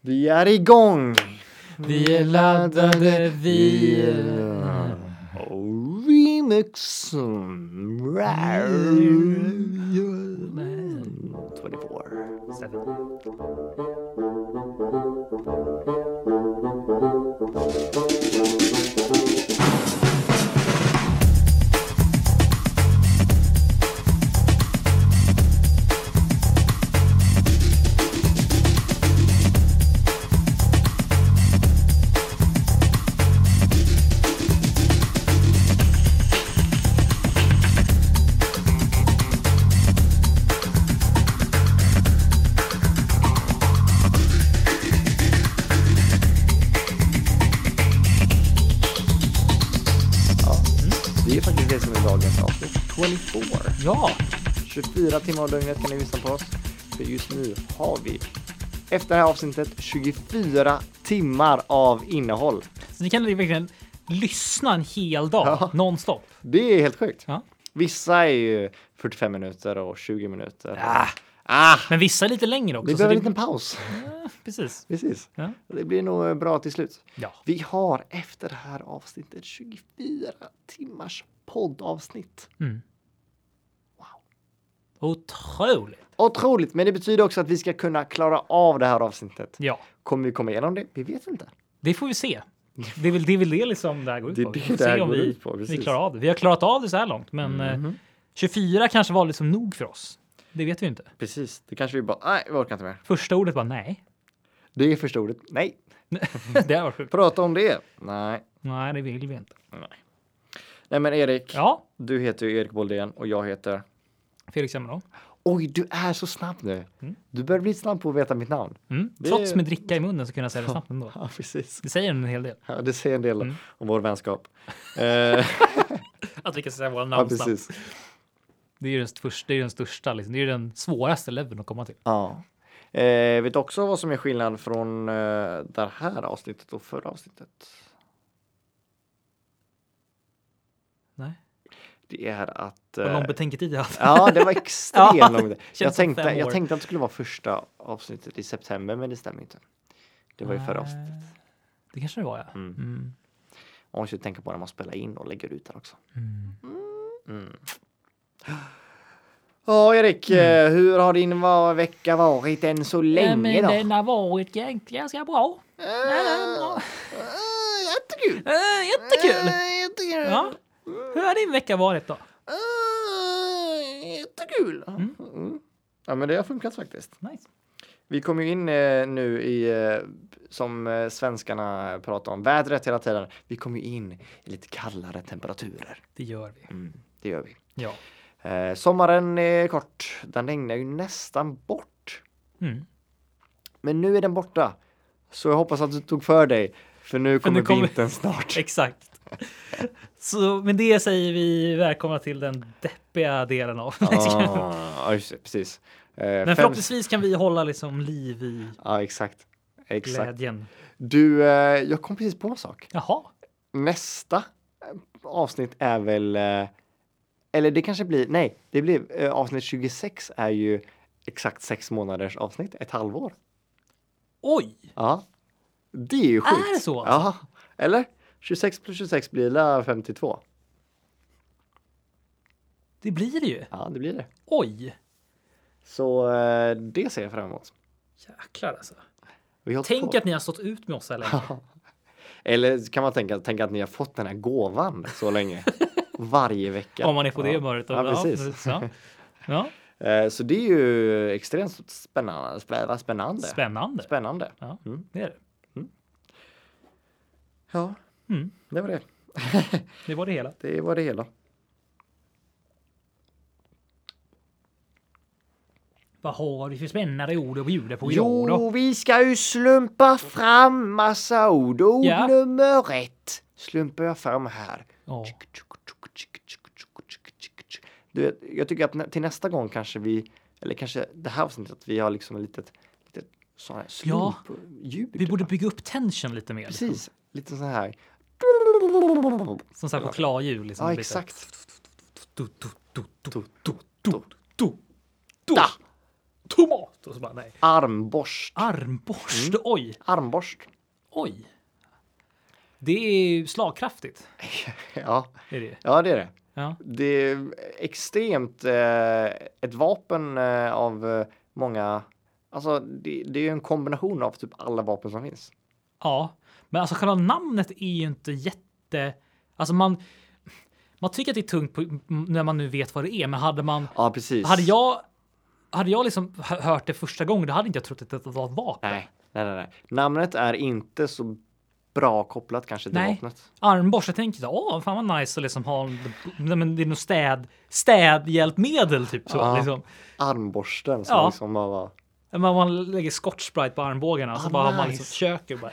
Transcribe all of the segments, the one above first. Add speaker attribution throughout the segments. Speaker 1: Vi är igång!
Speaker 2: Vi är laddade, vi
Speaker 1: är... Remixen!
Speaker 2: är...
Speaker 1: 24-7 ja. Mm. Det är faktiskt det som är dagens avsnitt. 24!
Speaker 2: Ja,
Speaker 1: 24 timmar om dygnet kan ni lyssna på oss. För just nu har vi, efter det här avsnittet, 24 timmar av innehåll.
Speaker 2: så ni kan verkligen lyssna en hel dag
Speaker 1: Ja.
Speaker 2: nonstop.
Speaker 1: Det är helt sjukt.
Speaker 2: Ja.
Speaker 1: Vissa är ju 45 minuter och 20 minuter.
Speaker 2: Ah.
Speaker 1: Ah!
Speaker 2: Men vissa är lite längre också.
Speaker 1: Vi
Speaker 2: så
Speaker 1: behöver en
Speaker 2: det-
Speaker 1: liten paus.
Speaker 2: Ja, Precis.
Speaker 1: Precis.
Speaker 2: Ja.
Speaker 1: Det blir nog eh, bra till slut.
Speaker 2: Ja.
Speaker 1: Vi har efter det här avsnittet 24 timmars poddavsnitt.
Speaker 2: Mm.
Speaker 1: Wow.
Speaker 2: Otroligt.
Speaker 1: Otroligt, men det betyder också att vi ska kunna klara av det här avsnittet.
Speaker 2: Ja,
Speaker 1: Kommer vi komma igenom det? Vi vet inte.
Speaker 2: det får vi se. Det är väl det, är väl det liksom det här går ut
Speaker 1: Det är
Speaker 2: på. Vi
Speaker 1: det
Speaker 2: får
Speaker 1: det
Speaker 2: se
Speaker 1: här
Speaker 2: om
Speaker 1: går
Speaker 2: vi,
Speaker 1: ut på,
Speaker 2: vi
Speaker 1: precis. Mhm.
Speaker 2: klarar av det. Vi har klarat av det så här långt, men eh, 24 kanske var liksom nog för oss. Det vet vi ju inte.
Speaker 1: Precis, det kanske vi bara, nej, vi orkar inte mer.
Speaker 2: Första ordet var nej.
Speaker 1: Det är första ordet. Nej, Mm.
Speaker 2: det här var sjukt.
Speaker 1: prata om det. Nej.
Speaker 2: Nej, det vill vi inte.
Speaker 1: Nej men Erik,
Speaker 2: Ja,
Speaker 1: du heter ju Erik Boldén och jag heter...
Speaker 2: Felix Hemmerdahl.
Speaker 1: Oj, du är så snabb nu.
Speaker 2: Mm.
Speaker 1: Du börjar bli snabb på att veta mitt namn.
Speaker 2: Mm.
Speaker 1: Det-
Speaker 2: Trots med dricka i munnen så kunde jag säga det snabbt ändå.
Speaker 1: Ja, precis.
Speaker 2: Det säger en hel del.
Speaker 1: Ja, det säger en del
Speaker 2: Mm.
Speaker 1: om vår vänskap. Eh,
Speaker 2: Att vi kan säga våra
Speaker 1: ja,
Speaker 2: namn snabbt.
Speaker 1: precis.
Speaker 2: Det är ju den, första, det är den största, liksom. det är ju den svåraste leveln att komma till.
Speaker 1: Ja. Eh, vet du också vad som är skillnad från eh, det här avsnittet och förra avsnittet?
Speaker 2: Nej.
Speaker 1: Det är att...
Speaker 2: Vad
Speaker 1: eh,
Speaker 2: lång betänketid jag hade.
Speaker 1: Ja, det var extremt
Speaker 2: Ja,
Speaker 1: långt.
Speaker 2: känns
Speaker 1: Jag
Speaker 2: som
Speaker 1: tänkte,
Speaker 2: fem
Speaker 1: jag
Speaker 2: år.
Speaker 1: tänkte att det skulle vara första avsnittet i september, men det stämmer inte. Det var ju förra avsnittet.
Speaker 2: Nej. Det kanske det var, ja.
Speaker 1: Mm.
Speaker 2: Mm.
Speaker 1: Man måste ju tänka på när man spelar in och lägger ut det också.
Speaker 2: Mm.
Speaker 1: Mm. Ja, Erik, eh, hur har din va- vecka varit än så
Speaker 2: Mm. Ja,
Speaker 1: länge
Speaker 2: men
Speaker 1: då?
Speaker 2: den har varit gän- ganska bra.
Speaker 1: Äh,
Speaker 2: den- ja.
Speaker 1: äh, Jättekul!
Speaker 2: Äh, jättekul!
Speaker 1: Äh, Jättekul!
Speaker 2: Ja. Hur har din vecka varit då?
Speaker 1: Äh, Jättekul! Mm. Ja, men det har funkat faktiskt.
Speaker 2: Nice.
Speaker 1: Vi kommer ju in eh, nu i, eh, som eh, svenskarna pratar om, vädret hela tiden. Vi kommer ju in i lite kallare temperaturer. Mm,
Speaker 2: Det gör vi.
Speaker 1: Det gör vi.
Speaker 2: Ja.
Speaker 1: Eh, sommaren är kort. Den regnar ju nästan bort.
Speaker 2: Mm.
Speaker 1: Men nu är den borta. Så jag hoppas att du tog för dig. För nu kommer,
Speaker 2: nu kommer-
Speaker 1: vintern snart.
Speaker 2: Exakt. Så med det säger vi välkomna till den deppiga delen av
Speaker 1: ah, just det, precis. Eh,
Speaker 2: Men
Speaker 1: fem-
Speaker 2: förhoppningsvis kan vi hålla liksom liv i
Speaker 1: Ja, exakt. Exakt.
Speaker 2: glädjen.
Speaker 1: Du, eh, jag kom precis på en sak.
Speaker 2: Jaha,
Speaker 1: nästa eh, avsnitt är väl, eh, eller det kanske blir, nej, det blir eh, avsnitt 26 är ju exakt sex månaders avsnitt, ett halvår.
Speaker 2: oj,
Speaker 1: Ja, det är ju sjukt.
Speaker 2: Är det så
Speaker 1: Ja, eller? 26 plus 26 blir la 52.
Speaker 2: det blir det ju.
Speaker 1: Ja, det blir det.
Speaker 2: Oj,
Speaker 1: Så eh, det ser jag fram emot.
Speaker 2: jäklar alltså.
Speaker 1: Vi har hållit
Speaker 2: Tänk
Speaker 1: på.
Speaker 2: att ni har stått ut med oss här länge.
Speaker 1: Eller kan man tänka, tänka att ni har fått den här gåvan så länge? Varje vecka.
Speaker 2: Om man är på det
Speaker 1: Ja.
Speaker 2: humöret.
Speaker 1: Ja, precis.
Speaker 2: Ja. Ja.
Speaker 1: Eh, Så det är ju extremt spännande. spä- Spännande.
Speaker 2: Spännande.
Speaker 1: Spännande.
Speaker 2: Ja,
Speaker 1: Mm.
Speaker 2: det är det.
Speaker 1: Ja,
Speaker 2: Mm.
Speaker 1: det var det.
Speaker 2: Det var det hela.
Speaker 1: Det var det hela.
Speaker 2: Vad har du för spännande ord att bjuda på idag då?
Speaker 1: Jo, vi ska ju slumpa fram massa ord. Ord
Speaker 2: Ja.
Speaker 1: nummer ett slumpar jag fram här.
Speaker 2: Ja.
Speaker 1: Du vet, jag tycker att nä- till nästa gång kanske vi, eller kanske det här avsnittet, att vi har liksom ett litet, litet sån här
Speaker 2: Ja.
Speaker 1: slumpljud.
Speaker 2: Vi borde bygga upp tension lite mer. Liksom.
Speaker 1: Precis, lite sån här.
Speaker 2: Som så här chokladhjul. Liksom,
Speaker 1: Ja,
Speaker 2: lite.
Speaker 1: exakt.
Speaker 2: Du, du, du, du,
Speaker 1: Du,
Speaker 2: du, du, du,
Speaker 1: Da.
Speaker 2: Tomat! Och så bara nej.
Speaker 1: Armborst.
Speaker 2: Armborst,
Speaker 1: Mm.
Speaker 2: oj,
Speaker 1: Armborst.
Speaker 2: oj. Det är ju slagkraftigt.
Speaker 1: Ja,
Speaker 2: Är det.
Speaker 1: ja det är det.
Speaker 2: Ja.
Speaker 1: Det är extremt eh, ett vapen eh, av eh, många. Alltså, det, det är ju en kombination av typ alla vapen som finns.
Speaker 2: ja, men alltså själva namnet är ju inte jätte... Alltså man... Man tycker att det är tungt på, när man nu vet vad det är, men hade man...
Speaker 1: Ja, precis.
Speaker 2: Hade jag... Hade jag liksom hö- hört det första gången, då hade inte jag trott att det var ett vapen.
Speaker 1: Nej, nej, nej, nej. Namnet är inte så bra kopplat kanske till
Speaker 2: Nej.
Speaker 1: vapnet.
Speaker 2: Armborst, jag tänkte åh, fan vad nice att liksom ha en, nej, men det är nog städ, städhjälpmedel typ så.
Speaker 1: Ja.
Speaker 2: Liksom.
Speaker 1: Armborsten som
Speaker 2: Ja.
Speaker 1: liksom bara var
Speaker 2: Men man lägger Scotch Sprite på armbågarna och så
Speaker 1: Ah,
Speaker 2: bara har man liksom
Speaker 1: nice.
Speaker 2: köker och bara,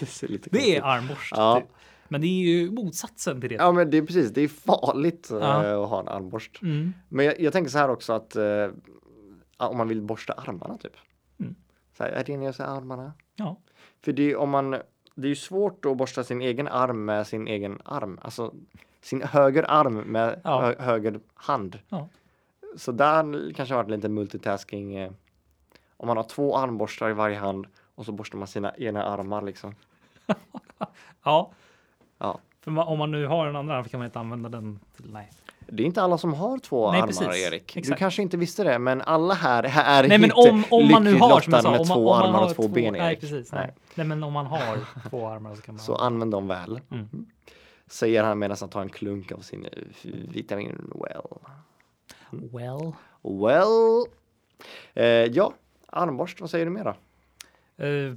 Speaker 1: Det, ser lite
Speaker 2: det är
Speaker 1: konstigt.
Speaker 2: armborst.
Speaker 1: Ja.
Speaker 2: Typ. Men det är ju motsatsen till det.
Speaker 1: Ja, men det är precis. Det är farligt eh,
Speaker 2: Ja.
Speaker 1: att ha en armborst.
Speaker 2: Mm.
Speaker 1: Men jag, jag tänker så här också att eh, om man vill borsta armarna typ.
Speaker 2: Mm.
Speaker 1: Så här, rengör sig armarna.
Speaker 2: Ja.
Speaker 1: För det är, om man, det är ju svårt att borsta sin egen arm med sin egen arm. Alltså sin höger arm med
Speaker 2: Ja.
Speaker 1: hö, höger hand.
Speaker 2: Ja.
Speaker 1: Så där kanske har varit lite multitasking. Eh, om man har två armborstar i varje hand och så borstar man sina ena armar liksom.
Speaker 2: ja.
Speaker 1: Ja.
Speaker 2: För man, om man nu har en andra kan man inte använda den till, nej.
Speaker 1: Det är inte alla som har två
Speaker 2: Nej,
Speaker 1: armar
Speaker 2: precis.
Speaker 1: Erik. Du
Speaker 2: Exakt.
Speaker 1: kanske inte visste det men alla här är
Speaker 2: Nej men
Speaker 1: inte
Speaker 2: om, om man nu
Speaker 1: lyckligt
Speaker 2: har som
Speaker 1: lottade
Speaker 2: jag sa,
Speaker 1: med
Speaker 2: om man,
Speaker 1: två
Speaker 2: om man
Speaker 1: armar
Speaker 2: har
Speaker 1: och två ben
Speaker 2: Nej
Speaker 1: Erik.
Speaker 2: precis. Nej.
Speaker 1: Nej.
Speaker 2: Nej. men om man har två armar så kan man.
Speaker 1: Så använd dem väl.
Speaker 2: Mm.
Speaker 1: Säger han medan han tar en klunk av sin eh, vitamin well.
Speaker 2: Well.
Speaker 1: Well. Eh, ja, armborst, vad säger du mer då?
Speaker 2: Eh,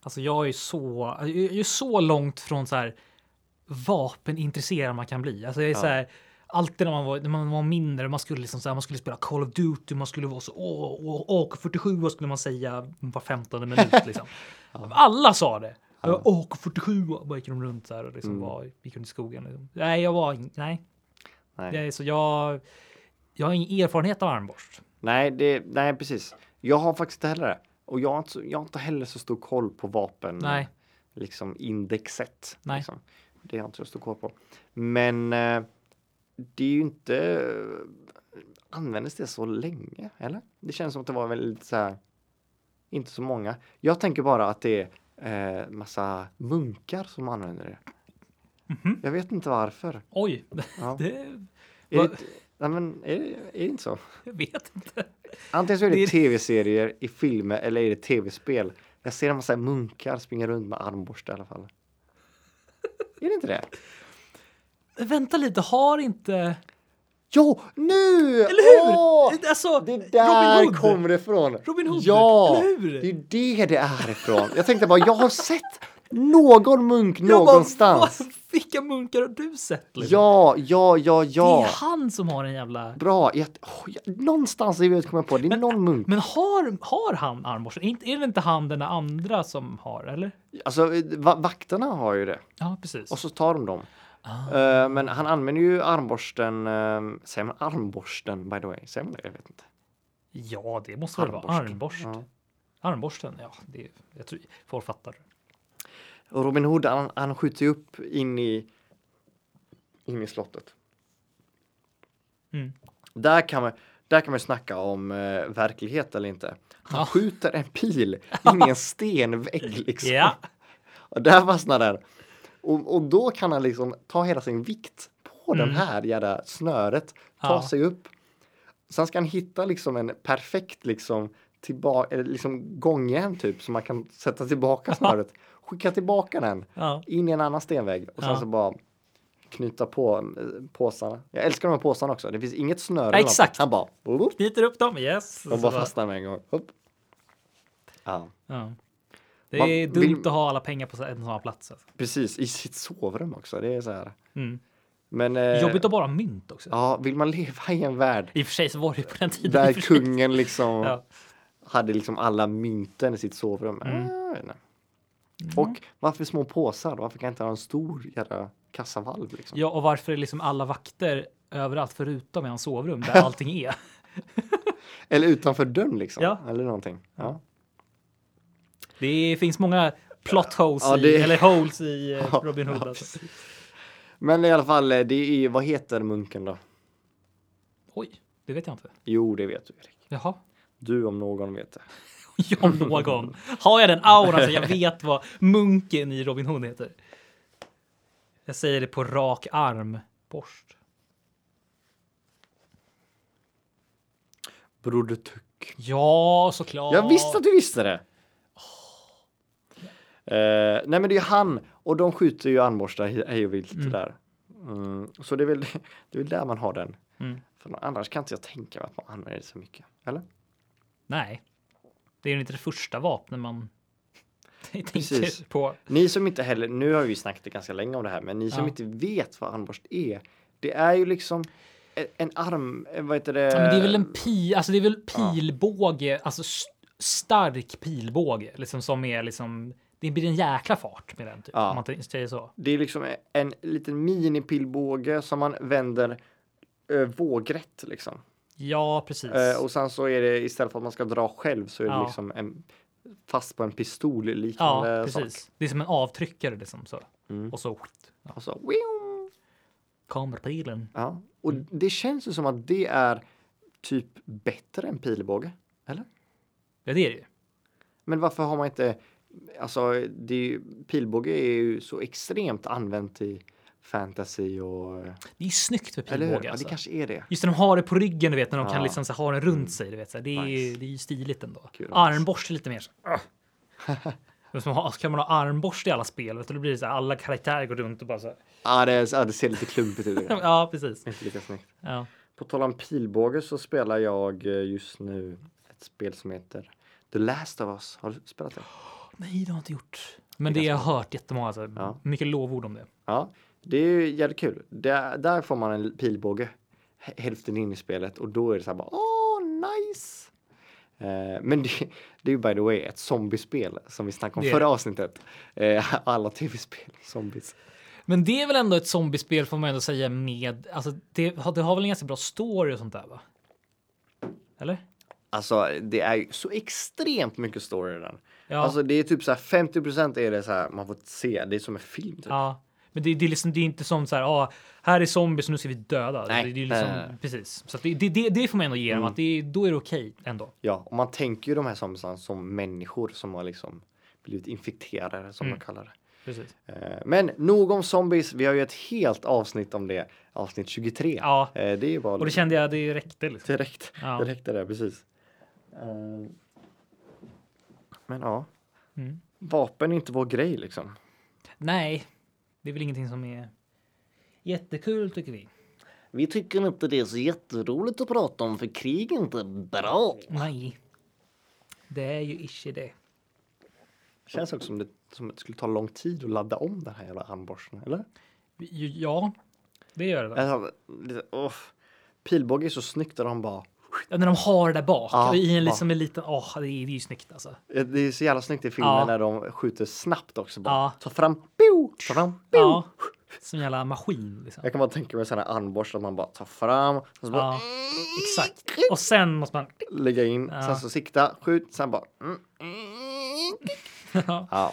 Speaker 2: alltså jag är så, jag är så långt från så här vapenintresserad man kan bli. Alltså jag är så här, alltid när man var, när man var mindre, man skulle, liksom så här, man skulle spela Call of Duty, man skulle vara så åh, åh, AK47 skulle man säga var 15 minut. Liksom. Alla sa det. Eh, Ja. AK47, bara gick de runt där och liksom
Speaker 1: Mm.
Speaker 2: var, gick runt i skogen. Liksom. Nej, jag var, in- nej.
Speaker 1: Nej.
Speaker 2: Jag, är så jag, jag har ingen erfarenhet av armborst.
Speaker 1: Nej, det, nej precis. Jag har faktiskt inte heller det. Och jag har inte, så- jag har inte heller så stor koll på vapen.
Speaker 2: Nej.
Speaker 1: Liksom indexet.
Speaker 2: Nej.
Speaker 1: Liksom. Det har jag inte så stor koll på. Men eh, det är ju inte... eh, Användes det så länge? Eller? Det känns som att det var väldigt så här... Inte så många. Jag tänker bara att det är eh, massa munkar som använder det.
Speaker 2: Mhm.
Speaker 1: Jag vet inte varför.
Speaker 2: Oj,
Speaker 1: Ja.
Speaker 2: det,
Speaker 1: Är
Speaker 2: Va-
Speaker 1: det, nej men är det, är det inte så?
Speaker 2: jag vet inte.
Speaker 1: Antingen så är det,
Speaker 2: Det är-
Speaker 1: tv-serier i filmer eller är det tv-spel. Jag ser en massa munkar springa runt med armborste i alla fall. Är det inte det?
Speaker 2: Vänta lite, har inte...
Speaker 1: Jo, nu!
Speaker 2: Eller hur?
Speaker 1: Åh!
Speaker 2: alltså,
Speaker 1: Det där
Speaker 2: Robin Hood.
Speaker 1: kommer det ifrån.
Speaker 2: Robin Hood,
Speaker 1: ja,
Speaker 2: eller hur?
Speaker 1: det är det det är ifrån. Jag tänkte bara, jag har sett någon munk
Speaker 2: Jag bara,
Speaker 1: någonstans.
Speaker 2: "Vad- vilka munkar har du sett? liksom?"
Speaker 1: Ja, ja, ja,
Speaker 2: Det
Speaker 1: ja.
Speaker 2: är han som har en jävla...
Speaker 1: Bra. jätte- Åh, jag- någonstans i huvudet kommer jag på, det är någon munk.
Speaker 2: Men har, har han armborsten? Inte- Är det inte han den andra som har, eller?
Speaker 1: Alltså, va- vakterna har ju det.
Speaker 2: Ja, precis.
Speaker 1: Och så tar de dem.
Speaker 2: Ah.
Speaker 1: Eh, men han använder ju armborsten, uh, säger man armborsten by the way? Säger man det? Jag vet inte.
Speaker 2: Ja, det måste väl vara armborst.
Speaker 1: Ja.
Speaker 2: Armborsten, ja. Det, jag tror folk fattar.
Speaker 1: Och Robin Hood han, han skjuter ju upp in i, in i slottet.
Speaker 2: Mm.
Speaker 1: Där kan man där kan man ju snacka om eh, verklighet eller inte. Han
Speaker 2: Ja.
Speaker 1: skjuter en pil in i en stenvägg liksom.
Speaker 2: Ja,
Speaker 1: Och där fastnar den. Och, och då kan han liksom ta hela sin vikt på den här jävla snöret, ta
Speaker 2: Mm. Ja.
Speaker 1: sig upp. Sen ska han hitta liksom en perfekt liksom, tillba- eller liksom gångjärn typ som man kan sätta tillbaka snöret. Skicka tillbaka den
Speaker 2: ja.
Speaker 1: in i en annan stenvägg och sen
Speaker 2: Ja.
Speaker 1: så bara knyta på eh, påsarna. Jag älskar de här påsarna också. Det finns inget snöre.
Speaker 2: Ja,
Speaker 1: eller någonting.
Speaker 2: exakt.
Speaker 1: Han bara, "Boop."
Speaker 2: Knyter upp dem, yes.
Speaker 1: de
Speaker 2: Så
Speaker 1: bara
Speaker 2: bara-
Speaker 1: fastnar med en gång. Upp. Ja,
Speaker 2: Ja. Det
Speaker 1: Man
Speaker 2: är
Speaker 1: vill-
Speaker 2: dumt att ha alla pengar på så- en sån här plats. Alltså.
Speaker 1: precis i sitt sovrum också. Det är så här.
Speaker 2: Mm.
Speaker 1: Men, eh,
Speaker 2: Jobbigt att bara ha mynt också.
Speaker 1: Ja, vill man leva i en värld
Speaker 2: I och för sig så var det ju på den tiden. i
Speaker 1: där
Speaker 2: och för sig.
Speaker 1: kungen liksom
Speaker 2: Ja. Mm.
Speaker 1: hade liksom alla mynten i sitt sovrum? Eh, jag vet inte. Och varför små påsar? Varför kan jag inte ha en stor jävla kassavalv? Liksom?
Speaker 2: Ja, och varför är liksom alla vakter överallt förutom i hans sovrum där allting är?
Speaker 1: Eller utanför dörren liksom?
Speaker 2: Ja.
Speaker 1: Eller någonting. Ja.
Speaker 2: Det finns många plot holes
Speaker 1: Ja, det-
Speaker 2: i, eller holes i eh,
Speaker 1: Ja,
Speaker 2: Robin Hood.
Speaker 1: ja,
Speaker 2: alltså.
Speaker 1: Men i alla fall, eh, det är ju, vad heter munken då?
Speaker 2: Oj, det vet jag inte.
Speaker 1: Jo, det vet du Erik.
Speaker 2: Jaha,
Speaker 1: Du om någon vet det.
Speaker 2: Jag någon. Har jag den auran så jag vet vad munken i Robin Hood heter? Jag säger det på rak arm. Borst.
Speaker 1: Broder Tuck.
Speaker 2: Ja, såklart.
Speaker 1: Jag visste att du visste det! Eh, nej men det är ju han och de skjuter ju armborstar he- hej och vilt där. Mm, så det är, väl, det är väl där man har den.
Speaker 2: Mm.
Speaker 1: För annars kan inte jag tänka mig att man använder det så mycket. Eller?
Speaker 2: Nej. Det är ju inte det första vapnet man tänker
Speaker 1: Precis.
Speaker 2: på.
Speaker 1: Ni som inte heller, nu har vi ju snackat ganska länge om det här, men ni som
Speaker 2: Ja.
Speaker 1: inte vet vad armborst är. Det är ju liksom en, en arm, eh, vad heter det?
Speaker 2: Ja, men det är väl en
Speaker 1: Eh,
Speaker 2: pi, alltså det är väl pilbåge, alltså s- stark pilbåge, liksom som är liksom. Det blir en jäkla fart med den typ,
Speaker 1: Ja.
Speaker 2: om man t- säger så.
Speaker 1: Det är liksom en liten minipillbåge som man vänder eh, vågrätt liksom.
Speaker 2: Ja, precis.
Speaker 1: Eh, och sen så är det istället för att man ska dra själv så är det
Speaker 2: Ja.
Speaker 1: liksom en, fast på en pistol
Speaker 2: ja,
Speaker 1: liknande eh, sak.
Speaker 2: precis. Det är som en avtryckare liksom så.
Speaker 1: Mm.
Speaker 2: Och så ja,
Speaker 1: Och, så, wiong!
Speaker 2: kommer pilen.
Speaker 1: ja. och
Speaker 2: Mm.
Speaker 1: det känns ju som att det är typ bättre än pilbåge. Eller?
Speaker 2: Ja, det är det ju.
Speaker 1: Men varför har man inte... Alltså, det är ju, pilbåge är ju så extremt använt i fantasy och...
Speaker 2: Det är ju snyggt med
Speaker 1: Eller hur?
Speaker 2: pilbåge.
Speaker 1: Ja, det
Speaker 2: Alltså.
Speaker 1: kanske är det.
Speaker 2: Just när de har det på ryggen, du vet, när de
Speaker 1: Ja.
Speaker 2: kan liksom så här, ha den runt sig. Du vet, så här, det, är, ju-
Speaker 1: Nice.
Speaker 2: det är ju stiligt ändå.
Speaker 1: Kul.
Speaker 2: Armborste lite mer. Så. här, ah. Men så har- så kan man ha armborste i alla spel, vet du, då blir det så här, alla karaktärer går runt och bara så här.
Speaker 1: Ja, det, ja, det ser lite klumpigt ut. Det
Speaker 2: Ja, precis.
Speaker 1: är Inte lika snyggt.
Speaker 2: Ja.
Speaker 1: På tal om pilbåge så spelar jag eh, just nu ett spel som heter The Last of Us. Har du spelat det?
Speaker 2: Nej, det har jag inte gjort. Men det, jag har hört jättemånga, så här,
Speaker 1: Ja.
Speaker 2: mycket lovord om det.
Speaker 1: Ja, det är ju jävligt kul. Där, där får man en pilbåge h- hälften in i spelet och då är det så här bara åh, nice! Eh, men det, det är ju by the way ett zombiespel som vi snackade om
Speaker 2: Det är
Speaker 1: förra avsnittet. Eh, alla tv-spel, zombies.
Speaker 2: Men det är väl ändå ett zombiespel får man ändå säga med, alltså det, har- det har väl en ganska bra story och sånt där va? Eller?
Speaker 1: Alltså det är ju så extremt mycket story i den.
Speaker 2: Ja.
Speaker 1: Alltså det är typ så här 50 är det så här man får se, det är som en film. Typ.
Speaker 2: ja. Men det, det, är liksom, det är inte som så här, ah, här är zombies, nu ska vi döda.
Speaker 1: Nej,
Speaker 2: det, det är liksom,
Speaker 1: nej, Mm. nej, nej.
Speaker 2: Precis. Så att det, det, det, det får man ändå ge dem, att det, då är det okej ändå.
Speaker 1: Ja, och man tänker ju de här zombiesarna som människor som har liksom blivit infekterade som
Speaker 2: Mm.
Speaker 1: man kallar det.
Speaker 2: Precis.
Speaker 1: Eh, Men nog om zombies. Vi har ju ett helt avsnitt om det. Avsnitt 23.
Speaker 2: Ja.
Speaker 1: Eh, Det är ju bara
Speaker 2: Och det kände jag, det räckte liksom.
Speaker 1: direkt.
Speaker 2: Ja.
Speaker 1: Direkt där, precis. Eh, Men ja.
Speaker 2: Mm.
Speaker 1: Vapen är inte vår grej liksom.
Speaker 2: Nej, det är väl ingenting som är jättekul tycker vi.
Speaker 1: Vi tycker inte det är så jätteroligt att prata om för krig är inte bra.
Speaker 2: Nej. Det är ju inte det.
Speaker 1: Känns också som det, som det skulle ta lång tid att ladda om den här jävla handborsten, eller?
Speaker 2: Ja, det gör det. väl.
Speaker 1: Alltså, lite, åh. Pilbåge är så snyggt där de bara
Speaker 2: Ja, när de har det där bak
Speaker 1: Ja,
Speaker 2: i en
Speaker 1: ja.
Speaker 2: liksom en liten. Åh, det, är, det är ju snyggt alltså.
Speaker 1: eh, Det är så jävla snyggt i filmen
Speaker 2: Ja.
Speaker 1: när de skjuter snabbt också. Bara.
Speaker 2: Ja.
Speaker 1: Ta fram, bio, ta fram, bio.
Speaker 2: Ja, som en jävla maskin. Liksom.
Speaker 1: Jag kan bara tänka mig sådana armborstar man bara tar fram, och så bara
Speaker 2: Ja, exakt. Och sen måste man.
Speaker 1: lägga in,
Speaker 2: Ja.
Speaker 1: sen så sikta, skjut, sen bara. Mm.
Speaker 2: Ja.
Speaker 1: Ja.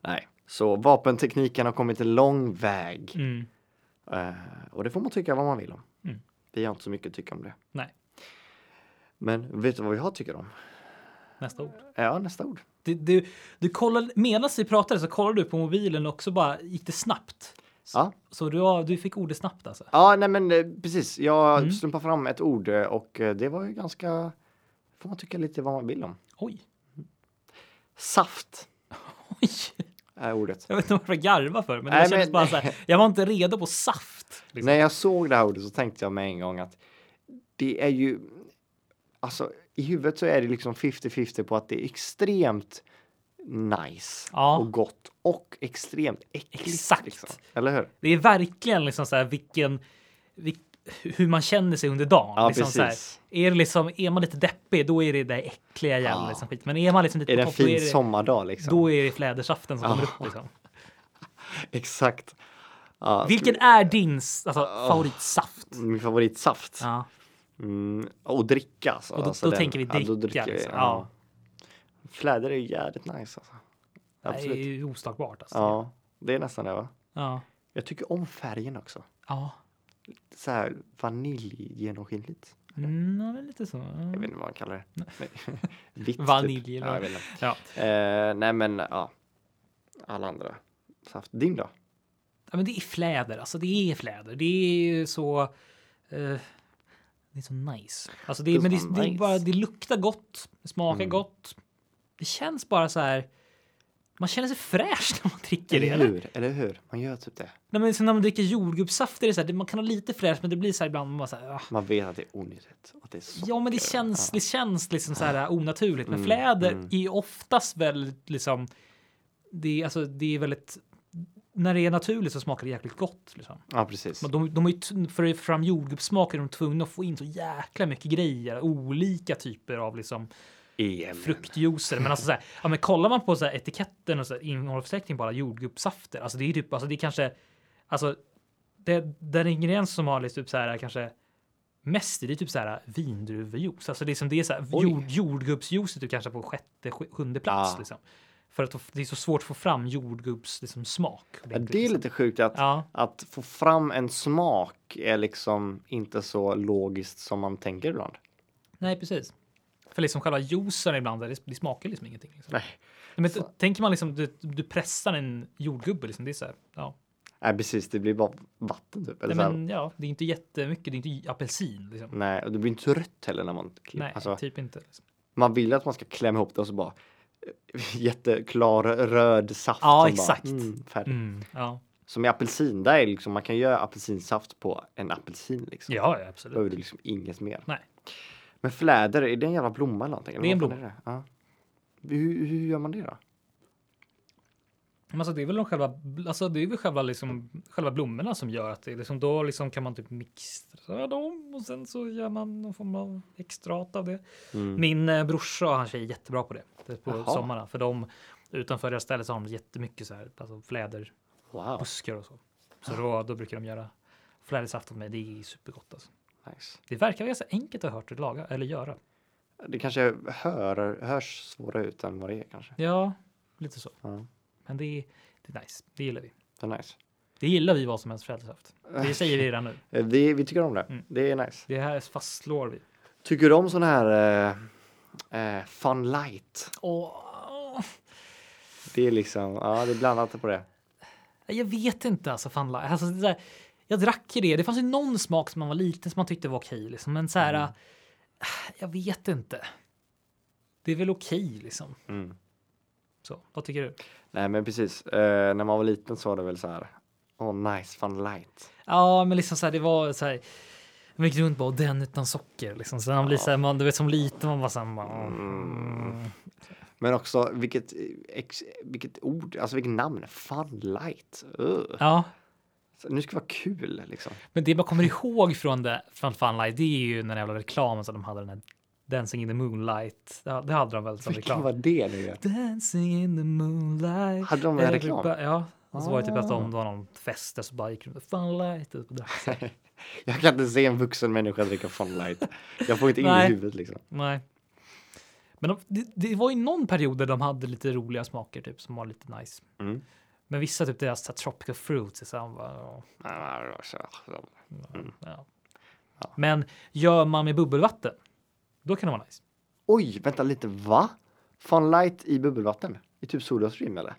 Speaker 1: Nej, så vapentekniken har kommit en lång väg
Speaker 2: Mm.
Speaker 1: Eh, och det får man tycka vad man vill om.
Speaker 2: Mm.
Speaker 1: Vi har inte så mycket att tycka om det.
Speaker 2: Nej,
Speaker 1: Men vet du vad jag tycker om?
Speaker 2: nästa ord.
Speaker 1: Ja, nästa ord.
Speaker 2: Du, du, du kollade, medan vi pratade så kollade du på mobilen och så bara gick det snabbt. Så,
Speaker 1: Ja.
Speaker 2: så du, har- du fick ordet snabbt alltså.
Speaker 1: Ja, nej men eh, precis. Jag
Speaker 2: Mm.
Speaker 1: slumpade fram ett ord eh, och eh, det var ju ganska, får man tycka lite vad man vill om.
Speaker 2: Oj,
Speaker 1: Saft
Speaker 2: oj.
Speaker 1: är ordet.
Speaker 2: Jag vet inte varför jag garvade för, men det
Speaker 1: Nej,
Speaker 2: kändes
Speaker 1: men-
Speaker 2: bara så här. Jag var inte redo på saft. Liksom.
Speaker 1: När jag såg det här ordet så tänkte jag med en gång att det är ju, alltså i huvudet så är det liksom 50-50 på att det är extremt nice
Speaker 2: Ja.
Speaker 1: och gott och extremt äckligt. liksom.
Speaker 2: Exakt.
Speaker 1: Eller hur?
Speaker 2: Det är verkligen liksom så här vilken, vil- hur man känner sig under dagen.
Speaker 1: Ja,
Speaker 2: liksom så här,
Speaker 1: precis.
Speaker 2: är, det liksom, är man lite deppig, då är det det där äckliga jävla
Speaker 1: Ja.
Speaker 2: liksom skit. Men är man liksom lite
Speaker 1: Är det en
Speaker 2: på topp, då
Speaker 1: fin
Speaker 2: är det,
Speaker 1: sommardag liksom?
Speaker 2: då är det flädersaften som kommer upp. Liksom.
Speaker 1: Exakt. Ja,
Speaker 2: Vilken är din s- alltså, favoritsaft?
Speaker 1: Min favoritsaft.
Speaker 2: Ja,
Speaker 1: Mm, och dricka alltså.
Speaker 2: och då,
Speaker 1: alltså
Speaker 2: då
Speaker 1: den-
Speaker 2: tänker vi dricka.
Speaker 1: Ja, då dricker vi,
Speaker 2: liksom.
Speaker 1: ja.
Speaker 2: ja.
Speaker 1: Fläder är ju jävligt nice alltså.
Speaker 2: Det är
Speaker 1: Absolut.
Speaker 2: ju oslagbart. Alltså. Ja.
Speaker 1: Ja, det är nästan det va?
Speaker 2: Ja.
Speaker 1: Jag tycker om färgen också. Så här vaniljgenomskinligt.
Speaker 2: Mm, men lite så. ja.
Speaker 1: Jag vet inte vad man kallar det. Vitt, typ.
Speaker 2: Vanilj eller-
Speaker 1: Ja, jag vet inte.
Speaker 2: Ja.
Speaker 1: Eh, nej, men ja. Alla andra saft. Din då?
Speaker 2: Ja, men det är fläder, alltså det är fläder. Det är ju så... eh, det är så nice. Alltså det,
Speaker 1: Det
Speaker 2: är
Speaker 1: är
Speaker 2: men det,
Speaker 1: så
Speaker 2: det, är
Speaker 1: nice. Mm.
Speaker 2: bara, det luktar gott, det smakar gott. Det känns bara så här... Man känner sig fräsch när man dricker det.
Speaker 1: Eller
Speaker 2: Eller?
Speaker 1: hur? Eller hur? Man gör typ det.
Speaker 2: Nej, men så när man dricker jordgubbssaft är det så här, det- man kan ha lite fräsch men det blir så här ibland man bara så här, ah.
Speaker 1: Man vet att det är onyttigt. och Att det är så.
Speaker 2: Ja, men det känns, det känns liksom så
Speaker 1: Ah.
Speaker 2: här onaturligt.
Speaker 1: Mm,
Speaker 2: Men fläder är ju oftast väldigt liksom. Det är alltså, det är väldigt. När det är naturligt så smakar det jäkligt gott liksom.
Speaker 1: Ja, precis.
Speaker 2: Men de, de är ju tv- för att få fram jordgubbssmak är de tvungna att få in så jäkla mycket grejer, olika typer av liksom
Speaker 1: EM.
Speaker 2: fruktjuicer. Men alltså så här, ja, men kollar man på så här etiketten och så här innehållsförteckningen bara jordgubbssafter, alltså det är typ, alltså det är kanske, alltså det, den ingrediens som har liksom typ så här kanske mest i det är typ så här vindruvjuice, alltså det är som det är så här
Speaker 1: Oj.
Speaker 2: jord, jordgubbsjuice är typ kanske på sjätte, sj- sjunde plats
Speaker 1: Ah.
Speaker 2: liksom. För att det är så svårt att få fram jordgubbs liksom, smak.
Speaker 1: Ja, det är lite sjukt att,
Speaker 2: liksom. Ja.
Speaker 1: att få fram en smak är liksom inte så logiskt som man tänker ibland.
Speaker 2: Nej, precis. För liksom själva juicen ibland, det, det smakar liksom ingenting. Liksom.
Speaker 1: Nej,
Speaker 2: Men t- tänker man liksom, du, du pressar en jordgubbe, liksom, det är så här, ja.
Speaker 1: Nej precis. Det blir bara vatten typ. Eller
Speaker 2: Nej,
Speaker 1: så här.
Speaker 2: men, ja, det är inte jättemycket, det är inte j- apelsin. Liksom.
Speaker 1: Nej, och det blir inte rött heller när man klipper.
Speaker 2: Nej,
Speaker 1: alltså,
Speaker 2: typ inte. Liksom.
Speaker 1: Man vill ju att man ska klämma ihop det och så bara eh, jätteklar röd saft.
Speaker 2: Ja,
Speaker 1: som
Speaker 2: exakt.
Speaker 1: Bara, mm, färdig.
Speaker 2: Mm, ja.
Speaker 1: Som i apelsin, där är det liksom, man kan göra apelsinsaft på en apelsin. Liksom.
Speaker 2: ja, ja,
Speaker 1: Då
Speaker 2: absolut.
Speaker 1: behöver du liksom inget mer.
Speaker 2: Nej.
Speaker 1: Men fläder, är det en jävla blomma eller någonting? Eller
Speaker 2: Det är en
Speaker 1: vad fan det? Ja. Hur, hur gör man det då?
Speaker 2: Men alltså, det är väl de själva, alltså, det är väl själva, liksom, själva blommorna som gör att det liksom, då liksom kan man typ mixtra dem och sen så gör man någon form av extrat av det.
Speaker 1: Mm.
Speaker 2: Min eh, brorsa och hans tjej är jättebra på det, det är på
Speaker 1: Jaha.
Speaker 2: sommarna. För de utanför deras ställe så har de jättemycket så här, alltså fläder
Speaker 1: Wow,
Speaker 2: buskar och så. Så då, då brukar de göra flädersaft åt mig. Det är supergott alltså.
Speaker 1: nice.
Speaker 2: Det verkar ganska enkelt att ha hört att laga eller göra.
Speaker 1: Det kanske hör, hörs svårare ut än vad det är kanske.
Speaker 2: Ja, lite så.
Speaker 1: Ja,
Speaker 2: Men det är, det är nice. Det gillar vi.
Speaker 1: det är nice.
Speaker 2: Det gillar vi vad som helst flädersaft. Det säger vi redan nu.
Speaker 1: Eh, Vi, vi tycker om det.
Speaker 2: Mm.
Speaker 1: Det är nice.
Speaker 2: Det här fastslår vi.
Speaker 1: Tycker du om sån här eh, eh, fun light?
Speaker 2: Åh,
Speaker 1: Det är liksom, ja det är blandat på det.
Speaker 2: jag vet inte alltså. Fan, la- alltså det är så här, jag drack ju det. Det fanns ju någon smak som man var liten som man tyckte var okej. Liksom. Men så här,
Speaker 1: Mm.
Speaker 2: äh, jag vet inte. Det är väl okej liksom.
Speaker 1: Mm.
Speaker 2: Så, vad tycker du?
Speaker 1: Nej men precis, Eh, när man var liten så var det väl så här, åh nice fun light.
Speaker 2: Ja, men liksom så här, det var så här. Man gick runt bara "Och den utan socker liksom. Sen man blir så här, man, du vet som liten man bara så här, bara, mm.
Speaker 1: Men också vilket, eh, ex, vilket ord, alltså vilket namn, fun light. Ugh.
Speaker 2: Ja,
Speaker 1: Så Nu ska det vara kul liksom.
Speaker 2: men det man kommer ihåg från det från Funlight, det är ju den jävla reklamen som de hade den här Dancing in the moonlight. Ja, det hade de väl som
Speaker 1: Vilken
Speaker 2: reklam.
Speaker 1: var det nu igen?
Speaker 2: Dancing in the moonlight.
Speaker 1: Hade de en
Speaker 2: Everybody-
Speaker 1: reklam?
Speaker 2: Ja, och så var det typ att
Speaker 1: Ah.
Speaker 2: de det var någon fest där så bara gick runt Funlight. Och drack.
Speaker 1: Jag kan inte se en vuxen människa dricka fun light. Jag får inte in i
Speaker 2: Nej.
Speaker 1: huvudet liksom.
Speaker 2: Nej. Men de, det, det var ju någon period där de hade lite roliga smaker typ som var lite nice.
Speaker 1: Mm.
Speaker 2: Men vissa typ deras så här, tropical fruits är så här, man bara, ja,
Speaker 1: Mm.
Speaker 2: ja.
Speaker 1: Ja.
Speaker 2: Men gör man med bubbelvatten, då kan det vara nice.
Speaker 1: Oj, vänta lite, va? Fun light i bubbelvatten? I typ Sodastream eller?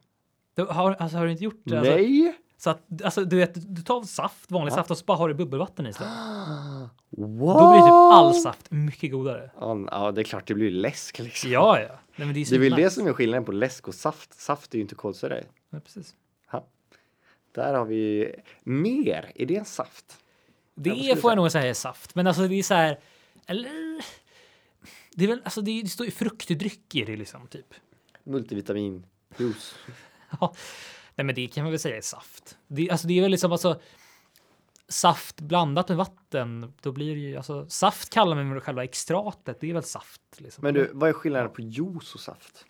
Speaker 2: Du, har, alltså, har du inte gjort det? Alltså,
Speaker 1: Nej!
Speaker 2: så att, alltså, du, vet, du tar saft, vanlig
Speaker 1: Ja.
Speaker 2: saft och så bara har du bubbelvatten i stället.
Speaker 1: What?
Speaker 2: Då blir typ all saft mycket godare.
Speaker 1: Ja, ja, det är klart det blir läsk liksom.
Speaker 2: Ja, ja. Nej, men det är,
Speaker 1: Det är väl
Speaker 2: svinnice.
Speaker 1: det som är skillnaden på läsk och saft. Saft är ju inte kolsyra i.
Speaker 2: Ja, precis.
Speaker 1: Där har vi ju mer. Är det en saft? Ja, vad
Speaker 2: Det
Speaker 1: skulle du
Speaker 2: får jag nog säga är saft, men alltså det är så här. Eller? Det, är väl, alltså det, är- det står ju fruktdryck i det liksom typ.
Speaker 1: Multivitamin, juice.
Speaker 2: Ja. Nej, men det kan man väl säga är saft. Det, alltså, det är väl liksom alltså. Saft blandat med vatten, då blir det ju alltså saft kallar man väl själva extratet. Det är väl saft. Liksom.
Speaker 1: Men du, vad är skillnaden på juice och saft?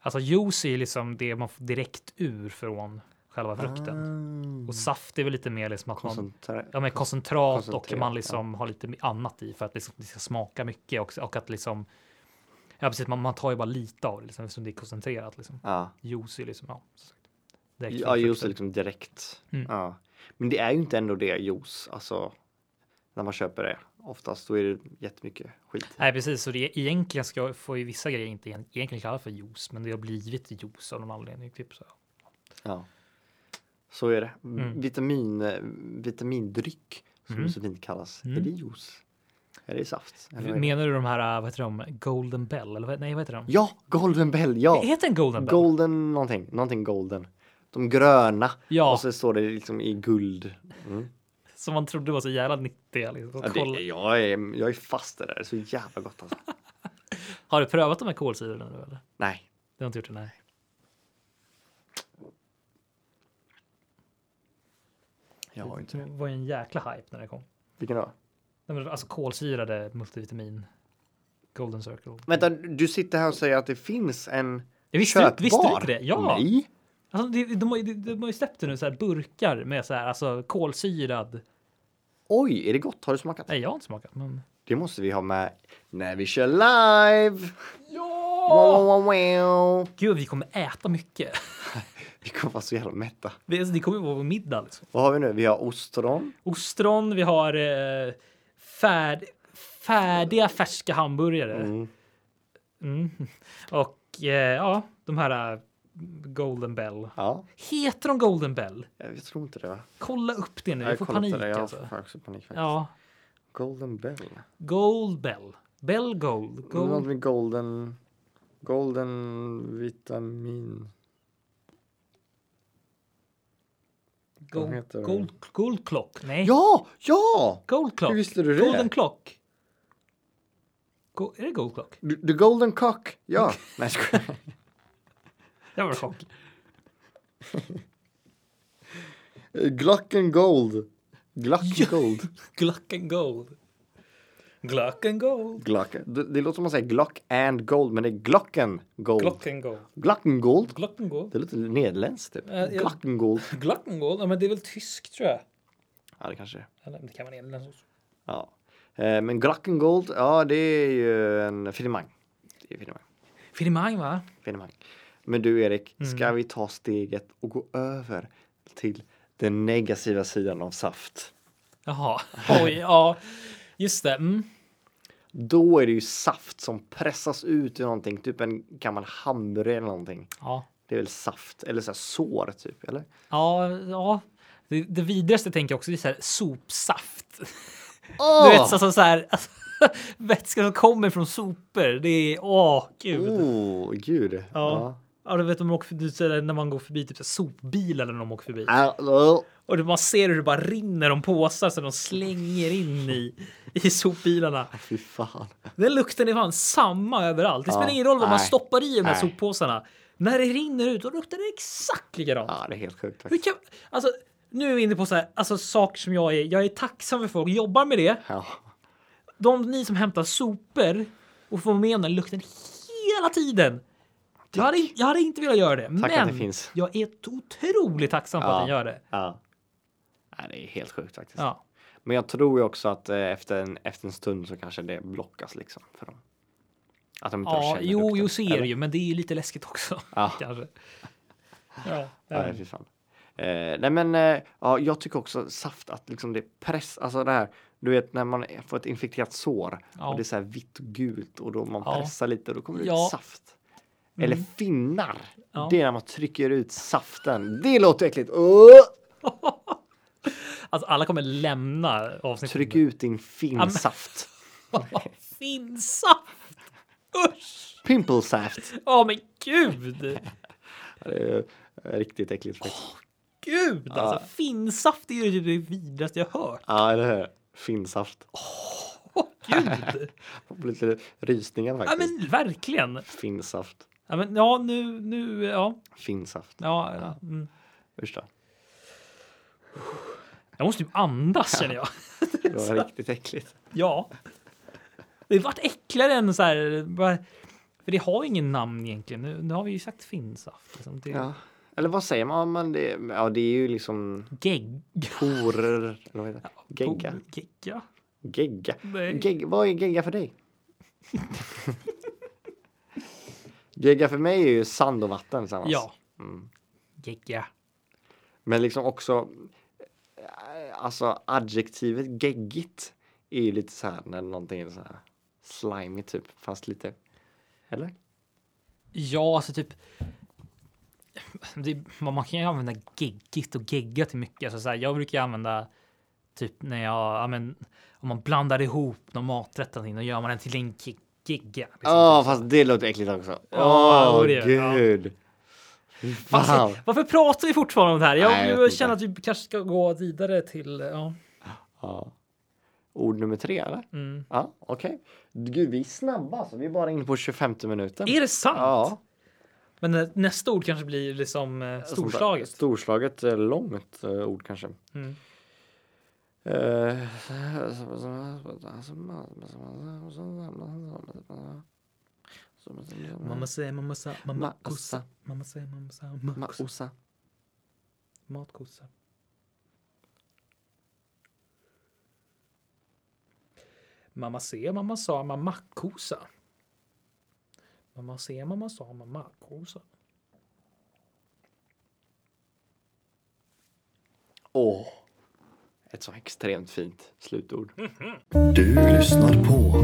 Speaker 2: Alltså juice är ju liksom det man får direkt ur från själva frukten
Speaker 1: Ah.
Speaker 2: och saft är väl lite mer liksom att man
Speaker 1: Koncentra-
Speaker 2: Ja, men koncentrat och
Speaker 1: koncentrerat,
Speaker 2: man liksom har lite annat i för att liksom det ska smaka mycket också och att liksom. Ja, precis. Man, man tar ju bara lite av det liksom eftersom det är koncentrerat liksom.
Speaker 1: Ja,
Speaker 2: Juice är liksom. Ja, som sagt, direkt
Speaker 1: ja
Speaker 2: från
Speaker 1: juice är
Speaker 2: frukten.
Speaker 1: liksom direkt.
Speaker 2: Mm.
Speaker 1: Ja. Men det är ju inte ändå det juice, alltså. när man köper det. Oftast då är det jättemycket skit.
Speaker 2: Nej, precis. Så det är, egentligen ska får ju vissa grejer inte egent- egentligen kallas för juice, men det har blivit juice av någon anledning. Typ så.
Speaker 1: Ja. Så är det.
Speaker 2: Mm.
Speaker 1: Vitamin, eh, vitamindryck som
Speaker 2: Mm.
Speaker 1: det så fint kallas.
Speaker 2: Mm.
Speaker 1: Är det juice? Är det saft? Eller vad är det?
Speaker 2: Menar du de här, vad heter de, Golden Bell? Eller vad, nej, vad heter de?
Speaker 1: Ja, Golden Bell! Ja!
Speaker 2: Heter den Golden Bell?
Speaker 1: Golden någonting, någonting golden. De gröna
Speaker 2: ja,
Speaker 1: och så står det liksom i guld. Mm.
Speaker 2: som man trodde var så jävla 90. Liksom.
Speaker 1: Ja,
Speaker 2: Kolla-
Speaker 1: det, jag, är, jag är fast i det där, det är så jävla gott alltså.
Speaker 2: Har du prövat de här kolsyrorna nu eller?
Speaker 1: Nej,
Speaker 2: Det har inte gjort det, nej.
Speaker 1: jag har inte
Speaker 2: det.
Speaker 1: det.
Speaker 2: var ju en jäkla hype när det kom.
Speaker 1: Vilken då?
Speaker 2: Nej, men alltså kolsyrade multivitamin. Golden Circle.
Speaker 1: Vänta, du sitter här och säger att det finns en
Speaker 2: Jag visste,
Speaker 1: köpbar?
Speaker 2: du, visste du inte det? Ja.
Speaker 1: Nej!
Speaker 2: Alltså, de, de, har ju- de, de har ju släppt det nu så här burkar med så här alltså kolsyrad.
Speaker 1: Oj, är det gott? Har du smakat?
Speaker 2: Nej, jag har inte smakat, men.
Speaker 1: Det måste vi ha med när vi kör live! Wow,
Speaker 2: Ja!
Speaker 1: wow, wow.
Speaker 2: Gud, vi kommer äta mycket.
Speaker 1: Vi kommer vara så jävla mätta.
Speaker 2: Det, alltså, det kommer vara vår middag. Liksom.
Speaker 1: Vad har vi nu? Vi har ostron.
Speaker 2: Ostron, vi har eh, färd, färdiga färska hamburgare.
Speaker 1: Mm.
Speaker 2: Mm. Och eh, ja, de här eh, Golden Bell.
Speaker 1: Ja,
Speaker 2: Heter de Golden Bell?
Speaker 1: jag tror inte det. va?
Speaker 2: Kolla upp det nu.
Speaker 1: Jag
Speaker 2: Jag får
Speaker 1: kollar
Speaker 2: panik
Speaker 1: inte det. Jag
Speaker 2: alltså.
Speaker 1: får också panik faktiskt.
Speaker 2: Ja,
Speaker 1: Golden Bell.
Speaker 2: Gold Bell. Bell Gold.
Speaker 1: Något
Speaker 2: Gold.
Speaker 1: med golden... Golden vitamin... vad
Speaker 2: Gold,
Speaker 1: heter det?
Speaker 2: gold, gold Clock. Nej.
Speaker 1: Ja! Ja!
Speaker 2: Gold Clock.
Speaker 1: Hur visste du det?
Speaker 2: Golden Clock. Go- är det Gold Clock?
Speaker 1: The the golden cock! Ja! Nej, jag skojar.
Speaker 2: Det var en chock.
Speaker 1: Glocken gold. Glocken gold.
Speaker 2: Glock and Gold. Glock and Gold.
Speaker 1: Glocken. Det, det låter som man säger glock and gold, men det är glocken gold.
Speaker 2: Glock and Gold.
Speaker 1: Glocken gold.
Speaker 2: Glock and Gold.
Speaker 1: Det låter nederländskt typ.
Speaker 2: Äh, jag-
Speaker 1: Glocken gold.
Speaker 2: Glock and Gold. Ja, men det är väl tysk tror jag.
Speaker 1: Ja, det kanske det är.
Speaker 2: Eller det kan vara nederländskt också.
Speaker 1: Ja. Eh, Men glocken gold, ja det är ju en finemang. Det är finemang.
Speaker 2: Finemang va?
Speaker 1: finemang. Men du Erik, ska vi ta steget och gå över till den negativa sidan av saft?
Speaker 2: Jaha. Oj, ja. Just det. Mm.
Speaker 1: Då är det ju saft som pressas ut i någonting, typ en gammal hamburgare eller någonting.
Speaker 2: Ja.
Speaker 1: Det är väl saft eller så här sår typ, eller?
Speaker 2: Ja, ja. Det, det vidrigaste tänker jag också det är så här sopsaft.
Speaker 1: Åh!
Speaker 2: Du vet så, så, så här alltså, vätska som kommer från sopor. Det är åh gud.
Speaker 1: Oh, gud. Ja.
Speaker 2: Ja. Ja, du vet om man åker förbi, så här, när man går förbi typ så här sopbilar eller när de åker förbi
Speaker 1: Ah, oh.
Speaker 2: och det- man ser hur det bara rinner om påsar som de slänger in i i sopbilarna.
Speaker 1: Äh, Fy fan.
Speaker 2: Den lukten är fan samma överallt. Det
Speaker 1: Ja,
Speaker 2: spelar ingen roll vad man
Speaker 1: nej,
Speaker 2: stoppar i de här
Speaker 1: nej.
Speaker 2: soppåsarna. När det rinner ut då luktar det exakt likadant.
Speaker 1: Ja, det är helt sjukt
Speaker 2: Hur
Speaker 1: faktiskt.
Speaker 2: kan, alltså, nu är vi inne på så här, alltså, saker som jag är. Jag är tacksam för folk, jobbar med det.
Speaker 1: Ja.
Speaker 2: De ni som hämtar sopor och får med om den lukten hela tiden. Jag hade, jag hade inte velat göra det,
Speaker 1: Tack att
Speaker 2: men
Speaker 1: det finns.
Speaker 2: jag är otroligt tacksam för
Speaker 1: Ja.
Speaker 2: att den gör det.
Speaker 1: ja. Nej, det är helt sjukt faktiskt.
Speaker 2: Ja,
Speaker 1: Men jag tror ju också att eh, efter en, efter en stund så kanske det blockas liksom för dem. Att de inte
Speaker 2: ja
Speaker 1: känner
Speaker 2: jo,
Speaker 1: lukten,
Speaker 2: jo, så är
Speaker 1: eller?
Speaker 2: det ju, men det är ju lite läskigt också.
Speaker 1: Ja.
Speaker 2: Kanske. Ja,
Speaker 1: Nej, fy fan. Eh, nej, men eh, ja, jag tycker också saft att liksom det press, alltså det här, du vet när man får ett infekterat sår
Speaker 2: Ja.
Speaker 1: och det är så här vitt och gult och då man
Speaker 2: Ja.
Speaker 1: pressar lite och då kommer det
Speaker 2: Ja. Mm.
Speaker 1: ut saft. Eller finnar.
Speaker 2: Ja.
Speaker 1: Det är när man trycker ut saften. Det låter äckligt. Åh!
Speaker 2: Alltså, alla kommer lämna avsnittet.
Speaker 1: Tryck ut din finnsaft.
Speaker 2: Finsa! Usch!
Speaker 1: Pimplesaft.
Speaker 2: Ja, men gud!
Speaker 1: Ja, Det är eh, riktigt äckligt. faktiskt.
Speaker 2: Gud! Alltså, finsaft är ju det vidrigaste jag hört.
Speaker 1: Ja, eller hur? Finnsaft.
Speaker 2: Gud!
Speaker 1: Jag får lite rysningar
Speaker 2: ja,
Speaker 1: faktiskt.
Speaker 2: men verkligen.
Speaker 1: Finnsaft.
Speaker 2: Ja, men, ja nu, nu, ja.
Speaker 1: Finnsaft.
Speaker 2: ja, ja. Mm.
Speaker 1: Usch då.
Speaker 2: Jag måste ju andas känner jag.
Speaker 1: Det var riktigt äckligt.
Speaker 2: Ja. Det vart äckligare än så här. bara- För det har ingen namn egentligen. Nu, nu har vi ju sagt finsaft. Liksom. Det är
Speaker 1: Ja. Eller vad säger man? man det, ja, det är ju liksom
Speaker 2: gegg.
Speaker 1: porer. Eller vad heter det? Gegga.
Speaker 2: Gegga.
Speaker 1: Gegga.
Speaker 2: Nej.
Speaker 1: Gegg, vad är gegga för dig? gegga för mig är ju sand och vatten tillsammans.
Speaker 2: Ja.
Speaker 1: Mm.
Speaker 2: Gegga.
Speaker 1: Men liksom också eh, alltså adjektivet geggigt är ju lite så här när någonting är så här slimy typ, fast lite. Eller?
Speaker 2: Ja, alltså typ. Det, man man kan ju använda geggigt och gegga till mycket. Alltså så här, jag brukar ju använda typ när jag, ja, men, om man blandar ihop någon maträtt eller någonting, då gör man den till en ge- gegga. liksom.
Speaker 1: Ja, fast det låter äckligt också.
Speaker 2: Ja,
Speaker 1: Åh,
Speaker 2: det gör det, ja.
Speaker 1: gud. Fan.
Speaker 2: Varför, varför pratar vi fortfarande om det här? Jag,
Speaker 1: Nej, jag vet
Speaker 2: jag
Speaker 1: inte.
Speaker 2: känner att vi kanske ska gå vidare till, ja.
Speaker 1: Ja. Ord nummer tre eller?
Speaker 2: Mm.
Speaker 1: Ja, okej. Gud, vi är snabba alltså. Vi är bara inne på 25 minuten.
Speaker 2: Är det sant?
Speaker 1: Ja.
Speaker 2: Men eh, nästa ord kanske blir liksom eh, storslaget.
Speaker 1: Storslaget, eh, långt eh, ord kanske.
Speaker 2: Mm.
Speaker 1: Eh,
Speaker 2: Mamma säger mamma sa, mamma kossa. Mamma säger mamma sa, mamma kossa.
Speaker 1: Maosa.
Speaker 2: Matkossa. Mamma ser, mamma sa, mamma kossa. Mamma ser, mamma sa, mamma kossa.
Speaker 1: Åh! Ett så extremt fint slutord.
Speaker 3: Du lyssnar på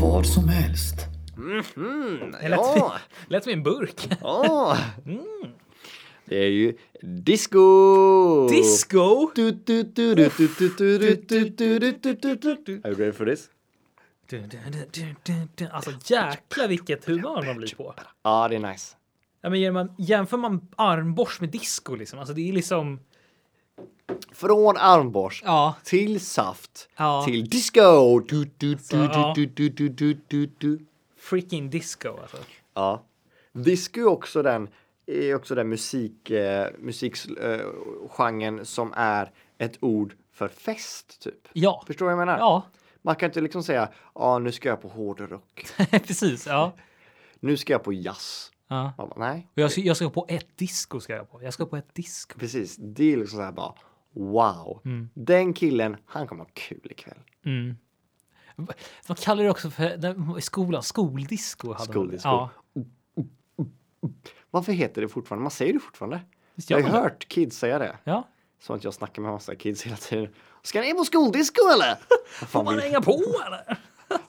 Speaker 3: vad som helst.
Speaker 1: Mhm,
Speaker 2: Det lät,
Speaker 1: ja!
Speaker 2: lät som en burk.
Speaker 1: ja.
Speaker 2: Mm.
Speaker 1: Det är ju disco!
Speaker 2: Disco!
Speaker 1: Du, du, du, du, du, du, du, du, du, du, du, du, du, du, du. Are you ready for this?
Speaker 2: Du, du, du, du, du, du. Alltså jäklar vilket humör man blir på.
Speaker 1: Ja, det är nice.
Speaker 2: Ja, men ger man, jämför man armborst med disco liksom. Alltså det är liksom...
Speaker 1: Från armborst
Speaker 2: Ja.
Speaker 1: till saft
Speaker 2: Ja.
Speaker 1: till disco. Du, du,
Speaker 2: Så,
Speaker 1: du,
Speaker 2: ja.
Speaker 1: du, du, du, du, du, du.
Speaker 2: Freaking disco alltså.
Speaker 1: Ja. Disco är också den, är också den musik, eh, musikgenren som är ett ord för fest, typ.
Speaker 2: Ja.
Speaker 1: Förstår du vad jag menar?
Speaker 2: Ja,
Speaker 1: Man kan inte liksom säga, ja nu ska jag på hårdrock,
Speaker 2: precis. Ja.
Speaker 1: nu ska jag på jazz.
Speaker 2: ja.
Speaker 1: Man bara, Nej,
Speaker 2: Och jag ska, jag ska på ett disco ska jag på. Jag ska på ett disco.
Speaker 1: precis. Det är liksom så här bara, wow. Den killen, han kommer ha kul ikväll.
Speaker 2: Mm. Man kallar det också för där- i skolan, skoldisco. Hade
Speaker 1: Skoldisco.
Speaker 2: Man. det. Ja,
Speaker 1: Varför heter det fortfarande? Man säger det fortfarande.
Speaker 2: visst
Speaker 1: Jag
Speaker 2: gör
Speaker 1: har
Speaker 2: man det?
Speaker 1: hört kids säga det.
Speaker 2: Ja.
Speaker 1: Som att jag snackar med massa kids hela tiden. Ska ni på skoldisco eller? Vad
Speaker 2: Får
Speaker 1: fan
Speaker 2: man
Speaker 1: vill,
Speaker 2: hänga på eller?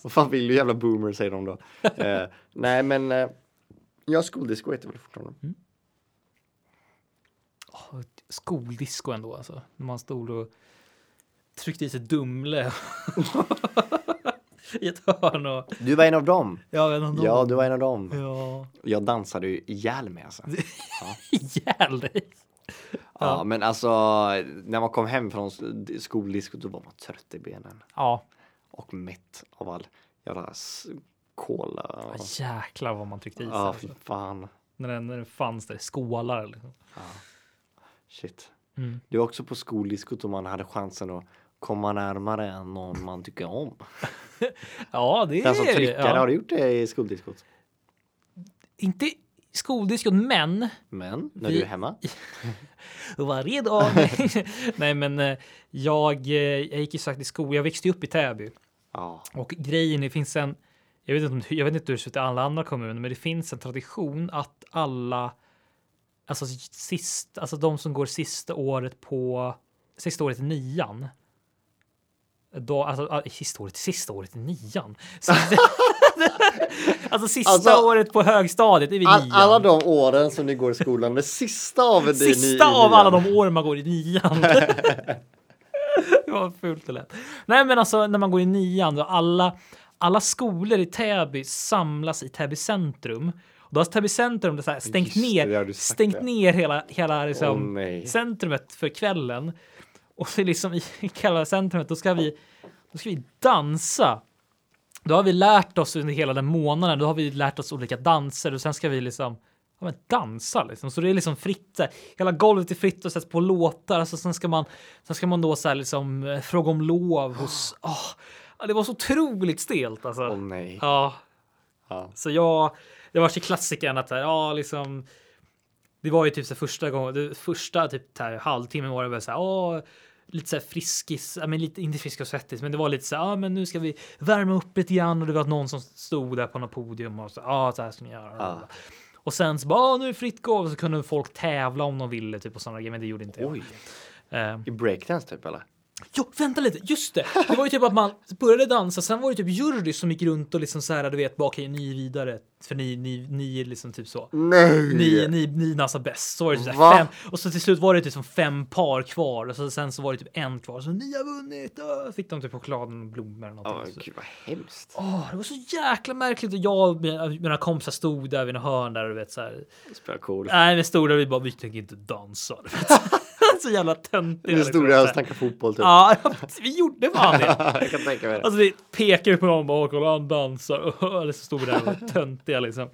Speaker 1: vad fan vill du jävla boomer säger de då. eh, nej men, eh, ja skoldisco heter väl fortfarande.
Speaker 2: Oh, skoldisco ändå alltså. När man stod och tryckte i sig Dumle i ett hörn och...
Speaker 1: Du var en av dem.
Speaker 2: Ja, jag vet inte om-
Speaker 1: Ja, du var en av dem.
Speaker 2: Ja.
Speaker 1: Jag dansade ju ihjäl mig alltså.
Speaker 2: Ihjäl dig.
Speaker 1: Ja, men alltså när man kom hem från s- skoldisco då var man trött i benen
Speaker 2: Ja,
Speaker 1: och mätt av all jävla s- cola. Och...
Speaker 2: jäklar vad man tryckte i sig.
Speaker 1: Ja, fy
Speaker 2: alltså.
Speaker 1: fan.
Speaker 2: när, den, när den fanns där i skålar. Liksom.
Speaker 1: Shit.
Speaker 2: Mm.
Speaker 1: Det var också på skoldiskot om man hade chansen att komma närmare någon man tycker om.
Speaker 2: Ja, det
Speaker 1: Den som
Speaker 2: är det.
Speaker 1: tryckade,
Speaker 2: ja.
Speaker 1: har du gjort det i skoldiskot?
Speaker 2: Inte skoldiskon, men
Speaker 1: Men när
Speaker 2: Vi-
Speaker 1: du är hemma?
Speaker 2: varje dag. Nej, men eh, jag, eh, jag gick ju sagt i skolan. Jag växte upp i Täby
Speaker 1: Ja.
Speaker 2: och grejen det finns en. Jag vet inte, om- jag vet inte hur det ser ut i alla andra kommuner, men det finns en tradition att alla. Alltså sist, alltså de som går sista året på sista året i nian. Då, alltså, ah, sista året, sista året i nian. Sista, alltså sista
Speaker 1: Alltså-
Speaker 2: året på högstadiet är vi
Speaker 1: All,
Speaker 2: nian.
Speaker 1: alla de åren som ni går i skolan, det sista av det ni-
Speaker 2: Sista
Speaker 1: ni-
Speaker 2: av alla de år man går i nian. det var fult och lätt. Nej, men alltså när man går i nian då alla alla skolor i Täby samlas i Täby centrum. Och då har Täby centrum det så här stängt
Speaker 1: Just det, det har
Speaker 2: ner,
Speaker 1: du sagt,
Speaker 2: stängt
Speaker 1: ja.
Speaker 2: ner hela hela
Speaker 1: Åh
Speaker 2: liksom
Speaker 1: nej.
Speaker 2: centrumet för kvällen. Och så liksom i hela centrumet, då ska vi, då ska vi dansa. Då har vi lärt oss under hela den månaden, då har vi lärt oss olika danser och sen ska vi liksom ja, men dansa liksom. Så det är liksom fritt, så här, hela golvet är fritt och sätts på låtar. Alltså, sen, ska man, sen ska man då så här, liksom, eh, fråga om lov hos... åh, ja, det var så otroligt stelt alltså.
Speaker 1: Ah. Åh nej.
Speaker 2: Ja,
Speaker 1: Ja.
Speaker 2: så jag, det var så klassikern att så här, ja, liksom. Det var ju typ så här första gången, det första typ så här, halvtimmen var det väl så här, ja, lite så här friskis, ja, men lite inte frisk och svettis, men det var lite så här, ja, men nu ska vi värma upp lite grann och det var någon som stod där på något podium och så, ja, så här ska ni göra.
Speaker 1: Ja.
Speaker 2: Och sen så bara, ja, nu är det fritt golv så kunde folk tävla om de ville typ och sådana grejer, men det gjorde inte jag.
Speaker 1: Oj.
Speaker 2: Eh,
Speaker 1: I breakdance typ eller?
Speaker 2: Jo, vänta lite, just det! Det var ju typ att man började dansa, sen var det typ jury som gick runt och liksom så här, du vet, bara okej, ni är vidare, för ni, ni, ni är liksom typ så.
Speaker 1: Nej!
Speaker 2: Ni, ni, ni dansar bäst. Så var det typ så
Speaker 1: Va?
Speaker 2: här fem, och så till slut var det typ som fem par kvar och så, sen så var det typ en kvar. Så ni har vunnit! Äh, fick de typ chokladen och blommor eller
Speaker 1: Ja,
Speaker 2: någonting. Så-
Speaker 1: gud vad hemskt.
Speaker 2: Åh, det var så jäkla märkligt och jag och mina, mina kompisar stod där vid en hörn där och du vet så här.
Speaker 1: Spelar cool.
Speaker 2: Nej, vi stod där och vi bara, vi tänker inte dansa. du vet. så jävla töntiga.
Speaker 1: Nu
Speaker 2: liksom,
Speaker 1: stod jag
Speaker 2: så
Speaker 1: och
Speaker 2: här.
Speaker 1: snackade fotboll typ.
Speaker 2: Ja, vi gjorde fan det.
Speaker 1: jag kan tänka mig det.
Speaker 2: Alltså vi pekar på dem och kolla han dansar. Eller så stod vi där och var töntiga liksom.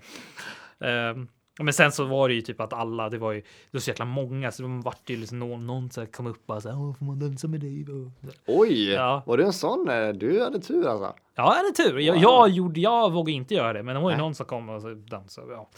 Speaker 2: Ehm, men sen så var det ju typ att alla, det var ju det var så jäkla många så de vart ju liksom någon, någon så här kom upp och bara så här, "Åh, får man dansa med dig? då?"
Speaker 1: Oj!
Speaker 2: Ja.
Speaker 1: Var du en sån? eh, Du hade tur alltså.
Speaker 2: Ja, det är tur. Jag,
Speaker 1: Wow.
Speaker 2: jag gjorde, jag vågade inte göra det, men det var ju
Speaker 1: Nej.
Speaker 2: någon som kom och så dansade. Ja.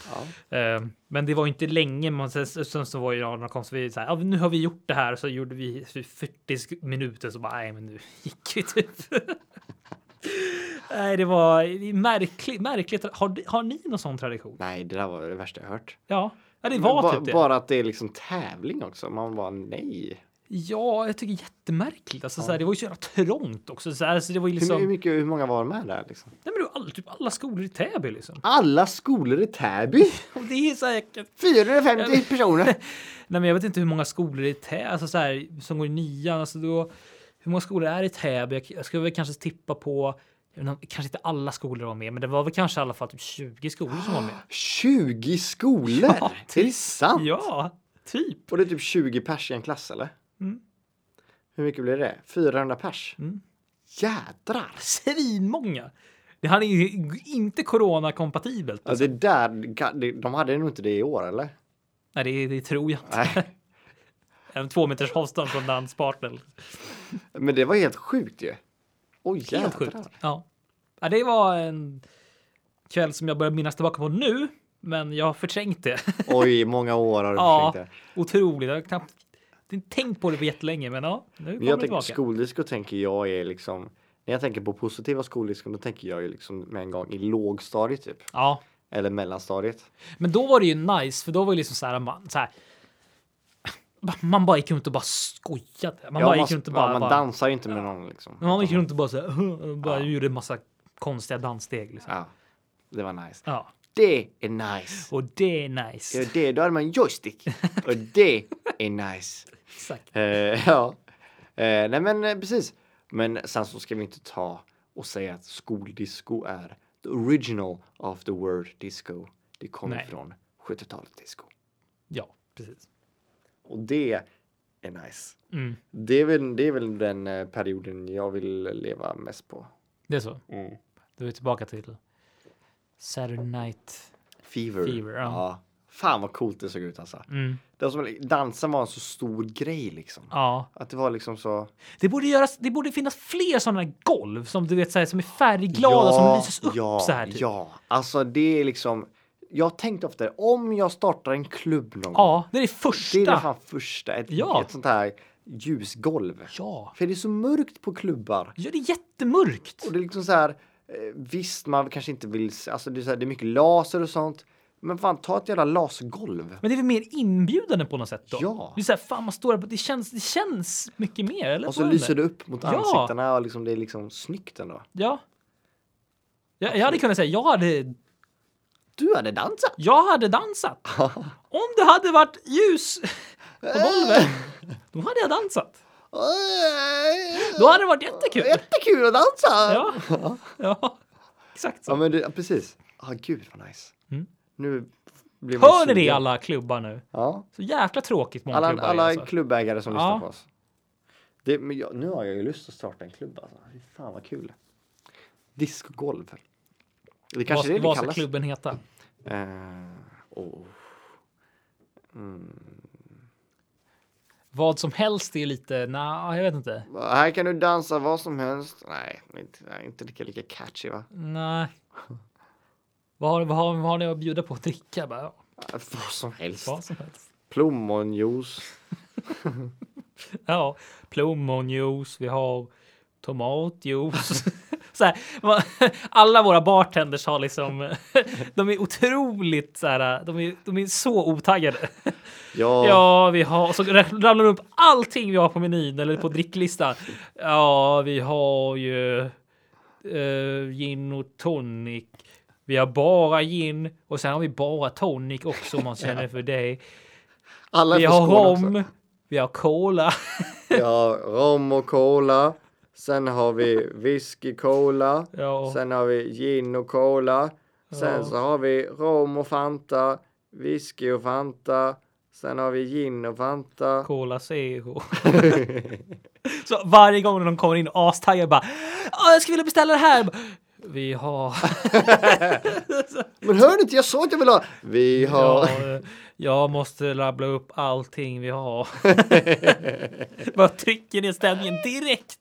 Speaker 1: Ja.
Speaker 2: Ehm, men det var ju inte länge. Man, sen, sen så var ju några kom så vi så här, "Ja, nu har vi gjort det här. Så gjorde vi 40 sk- minuter så bara, nej, men nu gick vi typ. nej, det var det är märkligt. märkligt. Har, har ni någon sån tradition?
Speaker 1: Nej, det där var det värsta jag hört.
Speaker 2: Ja, ja det
Speaker 1: Men
Speaker 2: var
Speaker 1: ba-
Speaker 2: typ det.
Speaker 1: Bara att det är liksom tävling också. Man bara nej.
Speaker 2: Ja, jag tycker jättemärkligt. Alltså, så här, det var ju så jävla trångt också. Så, här, så det var ju
Speaker 1: Hur, hur,
Speaker 2: liksom.
Speaker 1: mycket, hur många var med där liksom?
Speaker 2: Nej, men det var all, typ alla skolor i Täby liksom.
Speaker 1: Alla skolor i Täby!
Speaker 2: Och det är säkert.
Speaker 1: 450 personer!
Speaker 2: Nej, men jag vet inte hur många skolor i Täby alltså så här, som går i nian. Alltså då, hur många skolor är i Täby? Jag- Jag skulle väl kanske tippa på, jag vet inte, kanske inte alla skolor var med, men det var väl kanske i alla fall typ 20 skolor som var med.
Speaker 1: 20 skolor!
Speaker 2: Ja, typ.
Speaker 1: det är sant!
Speaker 2: Ja, typ.
Speaker 1: Och det är typ 20 pers i en klass eller?
Speaker 2: Mm.
Speaker 1: Hur mycket blir det? 400 pers?
Speaker 2: Mm.
Speaker 1: Jädrar!
Speaker 2: Svinmånga. Det här är ju inte coronakompatibelt.
Speaker 1: Ja, det där, det- de hade nog inte det i år eller?
Speaker 2: Nej, det, det tror jag inte.
Speaker 1: Nej.
Speaker 2: En två meters avstånd från danspartner.
Speaker 1: Men det var helt sjukt ju. Oj jädrar.
Speaker 2: Helt sjukt. Ja. ja, det var en kväll som jag börjar minnas tillbaka på nu, men jag har förträngt det.
Speaker 1: Oj, många år har du
Speaker 2: Ja.
Speaker 1: försökt det.
Speaker 2: Otroligt. Jag har knappt inte tänkt på det på jättelänge, men ja, nu kommer
Speaker 1: Men
Speaker 2: det
Speaker 1: jag tänker
Speaker 2: tillbaka.
Speaker 1: skoldisko tänker jag är liksom när jag tänker på positiva skoldiskon då tänker jag ju liksom med en gång i lågstadiet typ.
Speaker 2: Ja,
Speaker 1: Eller mellanstadiet.
Speaker 2: men då var det ju nice, för då var det liksom så här, man, så här man bara gick runt och bara skojade. Man bara gick runt och bara...
Speaker 1: ja, man
Speaker 2: bara
Speaker 1: dansar ju inte med någon liksom.
Speaker 2: man gick
Speaker 1: Utan-
Speaker 2: runt och bara så här, och bara
Speaker 1: Ja.
Speaker 2: gjorde en massa konstiga danssteg. Liksom.
Speaker 1: ja, det var nice.
Speaker 2: Ja,
Speaker 1: Det är nice.
Speaker 2: och det är nice.
Speaker 1: Ja, det, då hade man en joystick. Och det är nice.
Speaker 2: Exakt.
Speaker 1: Eh, ja, eh, nej men eh, precis. Men sen så ska vi inte ta och säga att skoldisco är the original of the word disco. Det kommer
Speaker 2: Nej.
Speaker 1: från 70-talet disco.
Speaker 2: Ja, precis.
Speaker 1: Och det är nice.
Speaker 2: Mm,
Speaker 1: Det är väl, det är väl den eh, perioden jag vill leva mest på.
Speaker 2: det är så. Då är vi tillbaka till Saturday Night.
Speaker 1: Fever.
Speaker 2: Fever, ja.
Speaker 1: Fan vad coolt det såg ut alltså.
Speaker 2: Mm,
Speaker 1: Det var som, dansen var en så stor grej liksom.
Speaker 2: ja,
Speaker 1: Att det var liksom så.
Speaker 2: det borde göras. Det borde finnas fler sådana golv som du vet så här, som är färgglada som lyses upp
Speaker 1: ja,
Speaker 2: så här. Typ.
Speaker 1: Ja, alltså det är liksom. Jag har tänkt ofta om jag startar en klubb någon gång.
Speaker 2: Ja, det är det första.
Speaker 1: Det är det fan första. Ett,
Speaker 2: Ja.
Speaker 1: ett sånt här ljusgolv.
Speaker 2: Ja,
Speaker 1: För det är så mörkt på klubbar.
Speaker 2: ja det är jättemörkt.
Speaker 1: Och det är liksom så här. eh, Visst, man kanske inte vill. se- Alltså det är, så här, det är mycket laser och sånt. Men fan, ta ett jävla lasergolv.
Speaker 2: Men det är väl mer inbjudande på något sätt då?
Speaker 1: Ja.
Speaker 2: Det är så här, fan man står där, på- det känns, det känns mycket mer. Eller?
Speaker 1: Och så
Speaker 2: Vad är
Speaker 1: lyser det upp mot
Speaker 2: Ja.
Speaker 1: ansiktena och liksom, det är liksom snyggt ändå.
Speaker 2: Ja. Jag, jag hade kunnat säga, jag hade,
Speaker 1: Du hade dansat!
Speaker 2: jag hade dansat. Om det hade varit ljus på golvet, då hade jag dansat. Då hade det varit jättekul.
Speaker 1: Jättekul att dansa!
Speaker 2: Ja, ja. exakt
Speaker 1: Ja
Speaker 2: så.
Speaker 1: men det, ja, precis. Ja ah, gud vad nice.
Speaker 2: Mm.
Speaker 1: Nu blir man
Speaker 2: Hör ni det
Speaker 1: sugen.
Speaker 2: alla klubbar nu?
Speaker 1: Ja.
Speaker 2: Så jäkla tråkigt många
Speaker 1: Alla,
Speaker 2: klubbar är,
Speaker 1: alla
Speaker 2: alltså.
Speaker 1: klubbägare som
Speaker 2: Ja.
Speaker 1: lyssnar på oss. Det, men jag, nu har jag ju lust att starta en klubb alltså. Fy fan vad kul. Discogolv. Det kanske
Speaker 2: vad,
Speaker 1: är det det
Speaker 2: vad ska
Speaker 1: kallas.
Speaker 2: klubben heta?
Speaker 1: Eh, oh.
Speaker 2: Vad som helst är lite, nej, jag vet inte.
Speaker 1: Här kan du dansa vad som helst. Nej, inte, nej, inte lika, lika catchy va?
Speaker 2: Nej. Vad har, vad, har, vad har ni att bjuda på att dricka? Bara, ja,
Speaker 1: Ah, Vad som helst.
Speaker 2: vad som helst.
Speaker 1: Plommonjuice.
Speaker 2: Ja, plommonjuice, vi har tomatjuice. så här, man- alla våra bartenders har liksom, de är otroligt så här, de är, de är så otaggade.
Speaker 1: Ja,
Speaker 2: Ja, vi har... Och så ramlar du upp allting vi har på menyn eller på dricklistan. Ja, vi har ju eh, gin och tonic. Vi har bara gin och sen har vi bara tonic också om man känner för det.
Speaker 1: alla är
Speaker 2: Vi
Speaker 1: från
Speaker 2: har
Speaker 1: Skåne
Speaker 2: rom.
Speaker 1: också.
Speaker 2: Vi har cola.
Speaker 1: Ja, rom och cola. Sen har vi whisky cola.
Speaker 2: Ja.
Speaker 1: Sen har vi gin och cola. Sen
Speaker 2: Ja.
Speaker 1: så har vi rom och Fanta, whisky och Fanta. Sen har vi gin och Fanta.
Speaker 2: Cola Zero. så varje gång de kommer in astaggade bara "Åh, jag skulle vilja beställa det här. Vi har...
Speaker 1: Men hör ni inte, jag sa att jag vill ha. Vi har.
Speaker 2: Ja, eh, jag måste rabbla upp allting vi har. Bara trycker ner stämningen direkt.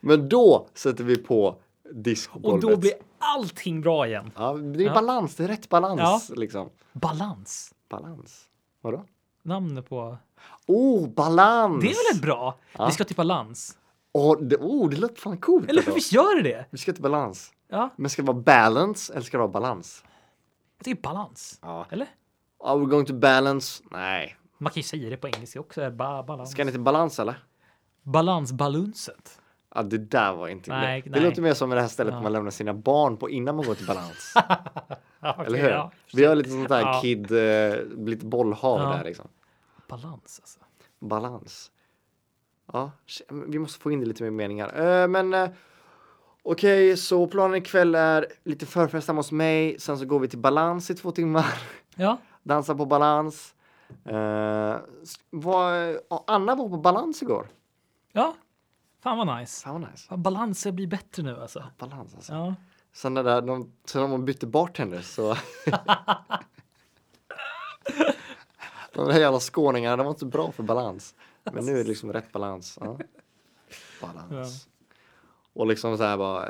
Speaker 1: Men då sätter vi på
Speaker 2: Och
Speaker 1: diskgolvet.
Speaker 2: då blir allting bra igen.
Speaker 1: Ja, det är balans, det är rätt balans liksom.
Speaker 2: Balans.
Speaker 1: Balans. Vadå?
Speaker 2: Namnet på...
Speaker 1: Oh, balans!
Speaker 2: Det är väl ett bra? Vi ska till balans.
Speaker 1: Åh, det, oh, det lät fan coolt.
Speaker 2: Eller
Speaker 1: ändå.
Speaker 2: visst gör det det?
Speaker 1: Vi ska till balans.
Speaker 2: Ja,
Speaker 1: Men ska det vara balance eller ska det vara balans?
Speaker 2: det är balans.
Speaker 1: Ja.
Speaker 2: Eller?
Speaker 1: Are we going to balance? Nej.
Speaker 2: Man kan ju säga det på engelska också. Ba, balans.
Speaker 1: Ska ni till balans eller?
Speaker 2: Balansbalunset.
Speaker 1: Ja, det där var inte...
Speaker 2: Nej,
Speaker 1: det
Speaker 2: nej.
Speaker 1: låter mer som det här stället man lämnar sina barn på innan man går till balans.
Speaker 2: Ja, okej,
Speaker 1: eller hur?
Speaker 2: ja.
Speaker 1: Vi har lite sånt där
Speaker 2: Ja.
Speaker 1: kid, eh, lite bollhav
Speaker 2: Ja.
Speaker 1: där liksom.
Speaker 2: Balans alltså.
Speaker 1: balans. Ja, sh- vi måste få in det lite mer meningar. Eh, men eh, okej, så planen ikväll är lite förfest hemma hos mig. Sen så går vi till balans i två timmar.
Speaker 2: Ja,
Speaker 1: Dansa på balans. Eh, s- vad, ja, Anna var på balans igår.
Speaker 2: ja. Fan vad nice.
Speaker 1: Fan vad nice.
Speaker 2: Fan, Balanser blir bättre nu alltså.
Speaker 1: Balans alltså.
Speaker 2: Ja.
Speaker 1: Sen när där, de, sen när de bytte bartender så. de där jävla skåningarna, de var inte bra för balans. Men nu är det liksom rätt balans. Ja. Balans. Och liksom så här bara,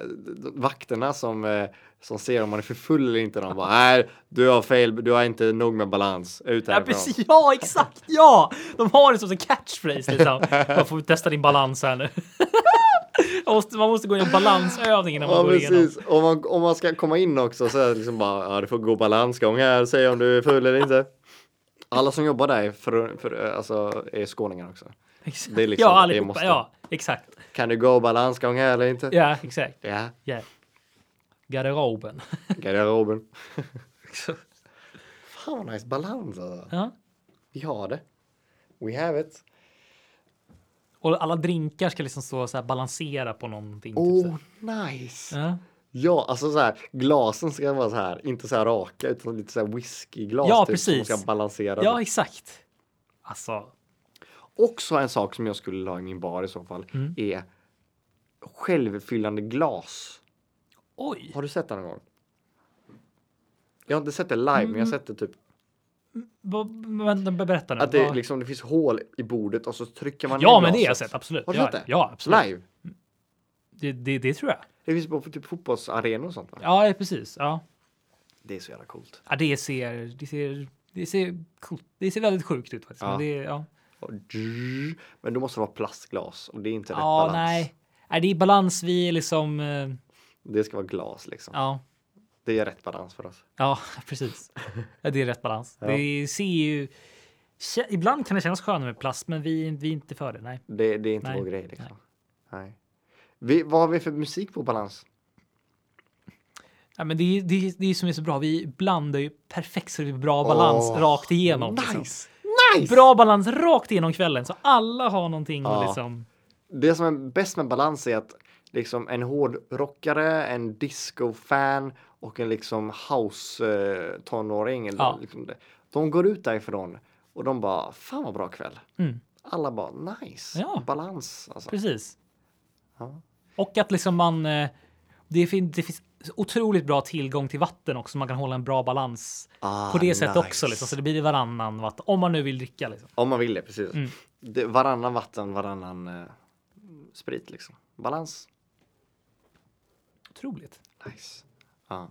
Speaker 1: vakterna som, eh, som ser om man är för full eller inte, de bara nej, du har fel, du har inte nog med balans, ut
Speaker 2: Ja,
Speaker 1: härifrån.
Speaker 2: precis, ja, exakt, ja! De har det som en catchphrase liksom. Man får testa din balans här nu. Man måste, man måste gå igenom balansövning innan man
Speaker 1: Ja,
Speaker 2: går igenom.
Speaker 1: precis. Om man, om man ska komma in också så är det liksom bara, ja, du får gå balansgång här, säg om du är full eller inte. Alla som jobbar där är, för, för, alltså, är skåningar också.
Speaker 2: Exakt.
Speaker 1: Det är liksom-
Speaker 2: ja,
Speaker 1: det
Speaker 2: allihopa,
Speaker 1: måste.
Speaker 2: ja, exakt.
Speaker 1: Kan du gå balansgång här eller inte?
Speaker 2: Ja, exakt.
Speaker 1: Ja,
Speaker 2: Yeah. Garderoben.
Speaker 1: garderoben. Fan vad nice balans alltså.
Speaker 2: ja.
Speaker 1: Vi har det. We have it.
Speaker 2: Och alla drinkar ska liksom stå så här balansera på någonting. Typ så
Speaker 1: Oh,
Speaker 2: här.
Speaker 1: nice.
Speaker 2: ja.
Speaker 1: Ja, alltså så här, glasen ska vara så här, inte så här raka utan lite så här whiskyglas
Speaker 2: Ja,
Speaker 1: typ, som
Speaker 2: precis.
Speaker 1: ska balansera.
Speaker 2: ja, exakt. Alltså,
Speaker 1: Också en sak som jag skulle ha i min bar i så fall
Speaker 2: Mm.
Speaker 1: är självfyllande glas.
Speaker 2: oj.
Speaker 1: Har du sett det någon gång? Jag har inte sett det live, men
Speaker 2: Mm.
Speaker 1: jag har sett det typ
Speaker 2: Vad- Vänta, berätta nu.
Speaker 1: att det,
Speaker 2: Vad-
Speaker 1: liksom, det finns hål i bordet och så trycker man
Speaker 2: ja,
Speaker 1: ner
Speaker 2: men det har jag
Speaker 1: glaset.
Speaker 2: sett, absolut.
Speaker 1: Har du
Speaker 2: ja,
Speaker 1: sett det?
Speaker 2: Ja, absolut.
Speaker 1: Live?
Speaker 2: Det, det, det tror jag.
Speaker 1: Det finns på typ fotbollsarenor och sånt va?
Speaker 2: Ja, precis. Ja.
Speaker 1: Det är så jävla coolt.
Speaker 2: Ja, det ser, det ser, det ser, coolt- det ser väldigt sjukt ut faktiskt.
Speaker 1: Ja.
Speaker 2: Men det, ja.
Speaker 1: Och drrrr. Men då måste det vara plastglas och det är inte rätt
Speaker 2: ja,
Speaker 1: balans.
Speaker 2: nej. Nej, det är balans. Vi är liksom, eh,
Speaker 1: Det ska vara glas liksom.
Speaker 2: ja,
Speaker 1: Det är rätt balans för oss.
Speaker 2: ja, precis. Ja, det är rätt balans. Det ser ju, kä- ibland kan det kännas skönare med plast, men vi, vi är inte för det. Nej.
Speaker 1: Det, det är inte
Speaker 2: Nej.
Speaker 1: vår grej liksom. Nej. Vi, vad har vi för musik på balans?
Speaker 2: Ja, men det, är- det, är- det är som är så bra. Vi blandar ju perfekt så det blir bra balans
Speaker 1: Åh,
Speaker 2: rakt igenom. Liksom.
Speaker 1: Nice! Nice!
Speaker 2: Bra balans rakt igenom kvällen så alla har någonting
Speaker 1: Ja.
Speaker 2: att liksom.
Speaker 1: Det som är bäst med balans är att liksom en hårdrockare, en discofan och en liksom house-tonåring. eller
Speaker 2: Ja.
Speaker 1: Liksom det- de går ut därifrån och de bara, fan vad bra kväll.
Speaker 2: Mm.
Speaker 1: Alla bara, nice,
Speaker 2: Ja.
Speaker 1: balans. Alltså.
Speaker 2: Precis.
Speaker 1: Ja.
Speaker 2: Och att liksom man... eh, Det finns, det finns otroligt bra tillgång till vatten också. Man kan hålla en bra balans
Speaker 1: Ah,
Speaker 2: på det sättet också.
Speaker 1: nice.
Speaker 2: Liksom. Så det blir varannan vatten. Om man nu vill dricka. Liksom.
Speaker 1: Om man vill det, precis. Det, varannan vatten, varannan eh, sprit liksom. Balans,
Speaker 2: Otroligt.
Speaker 1: nice. Ja,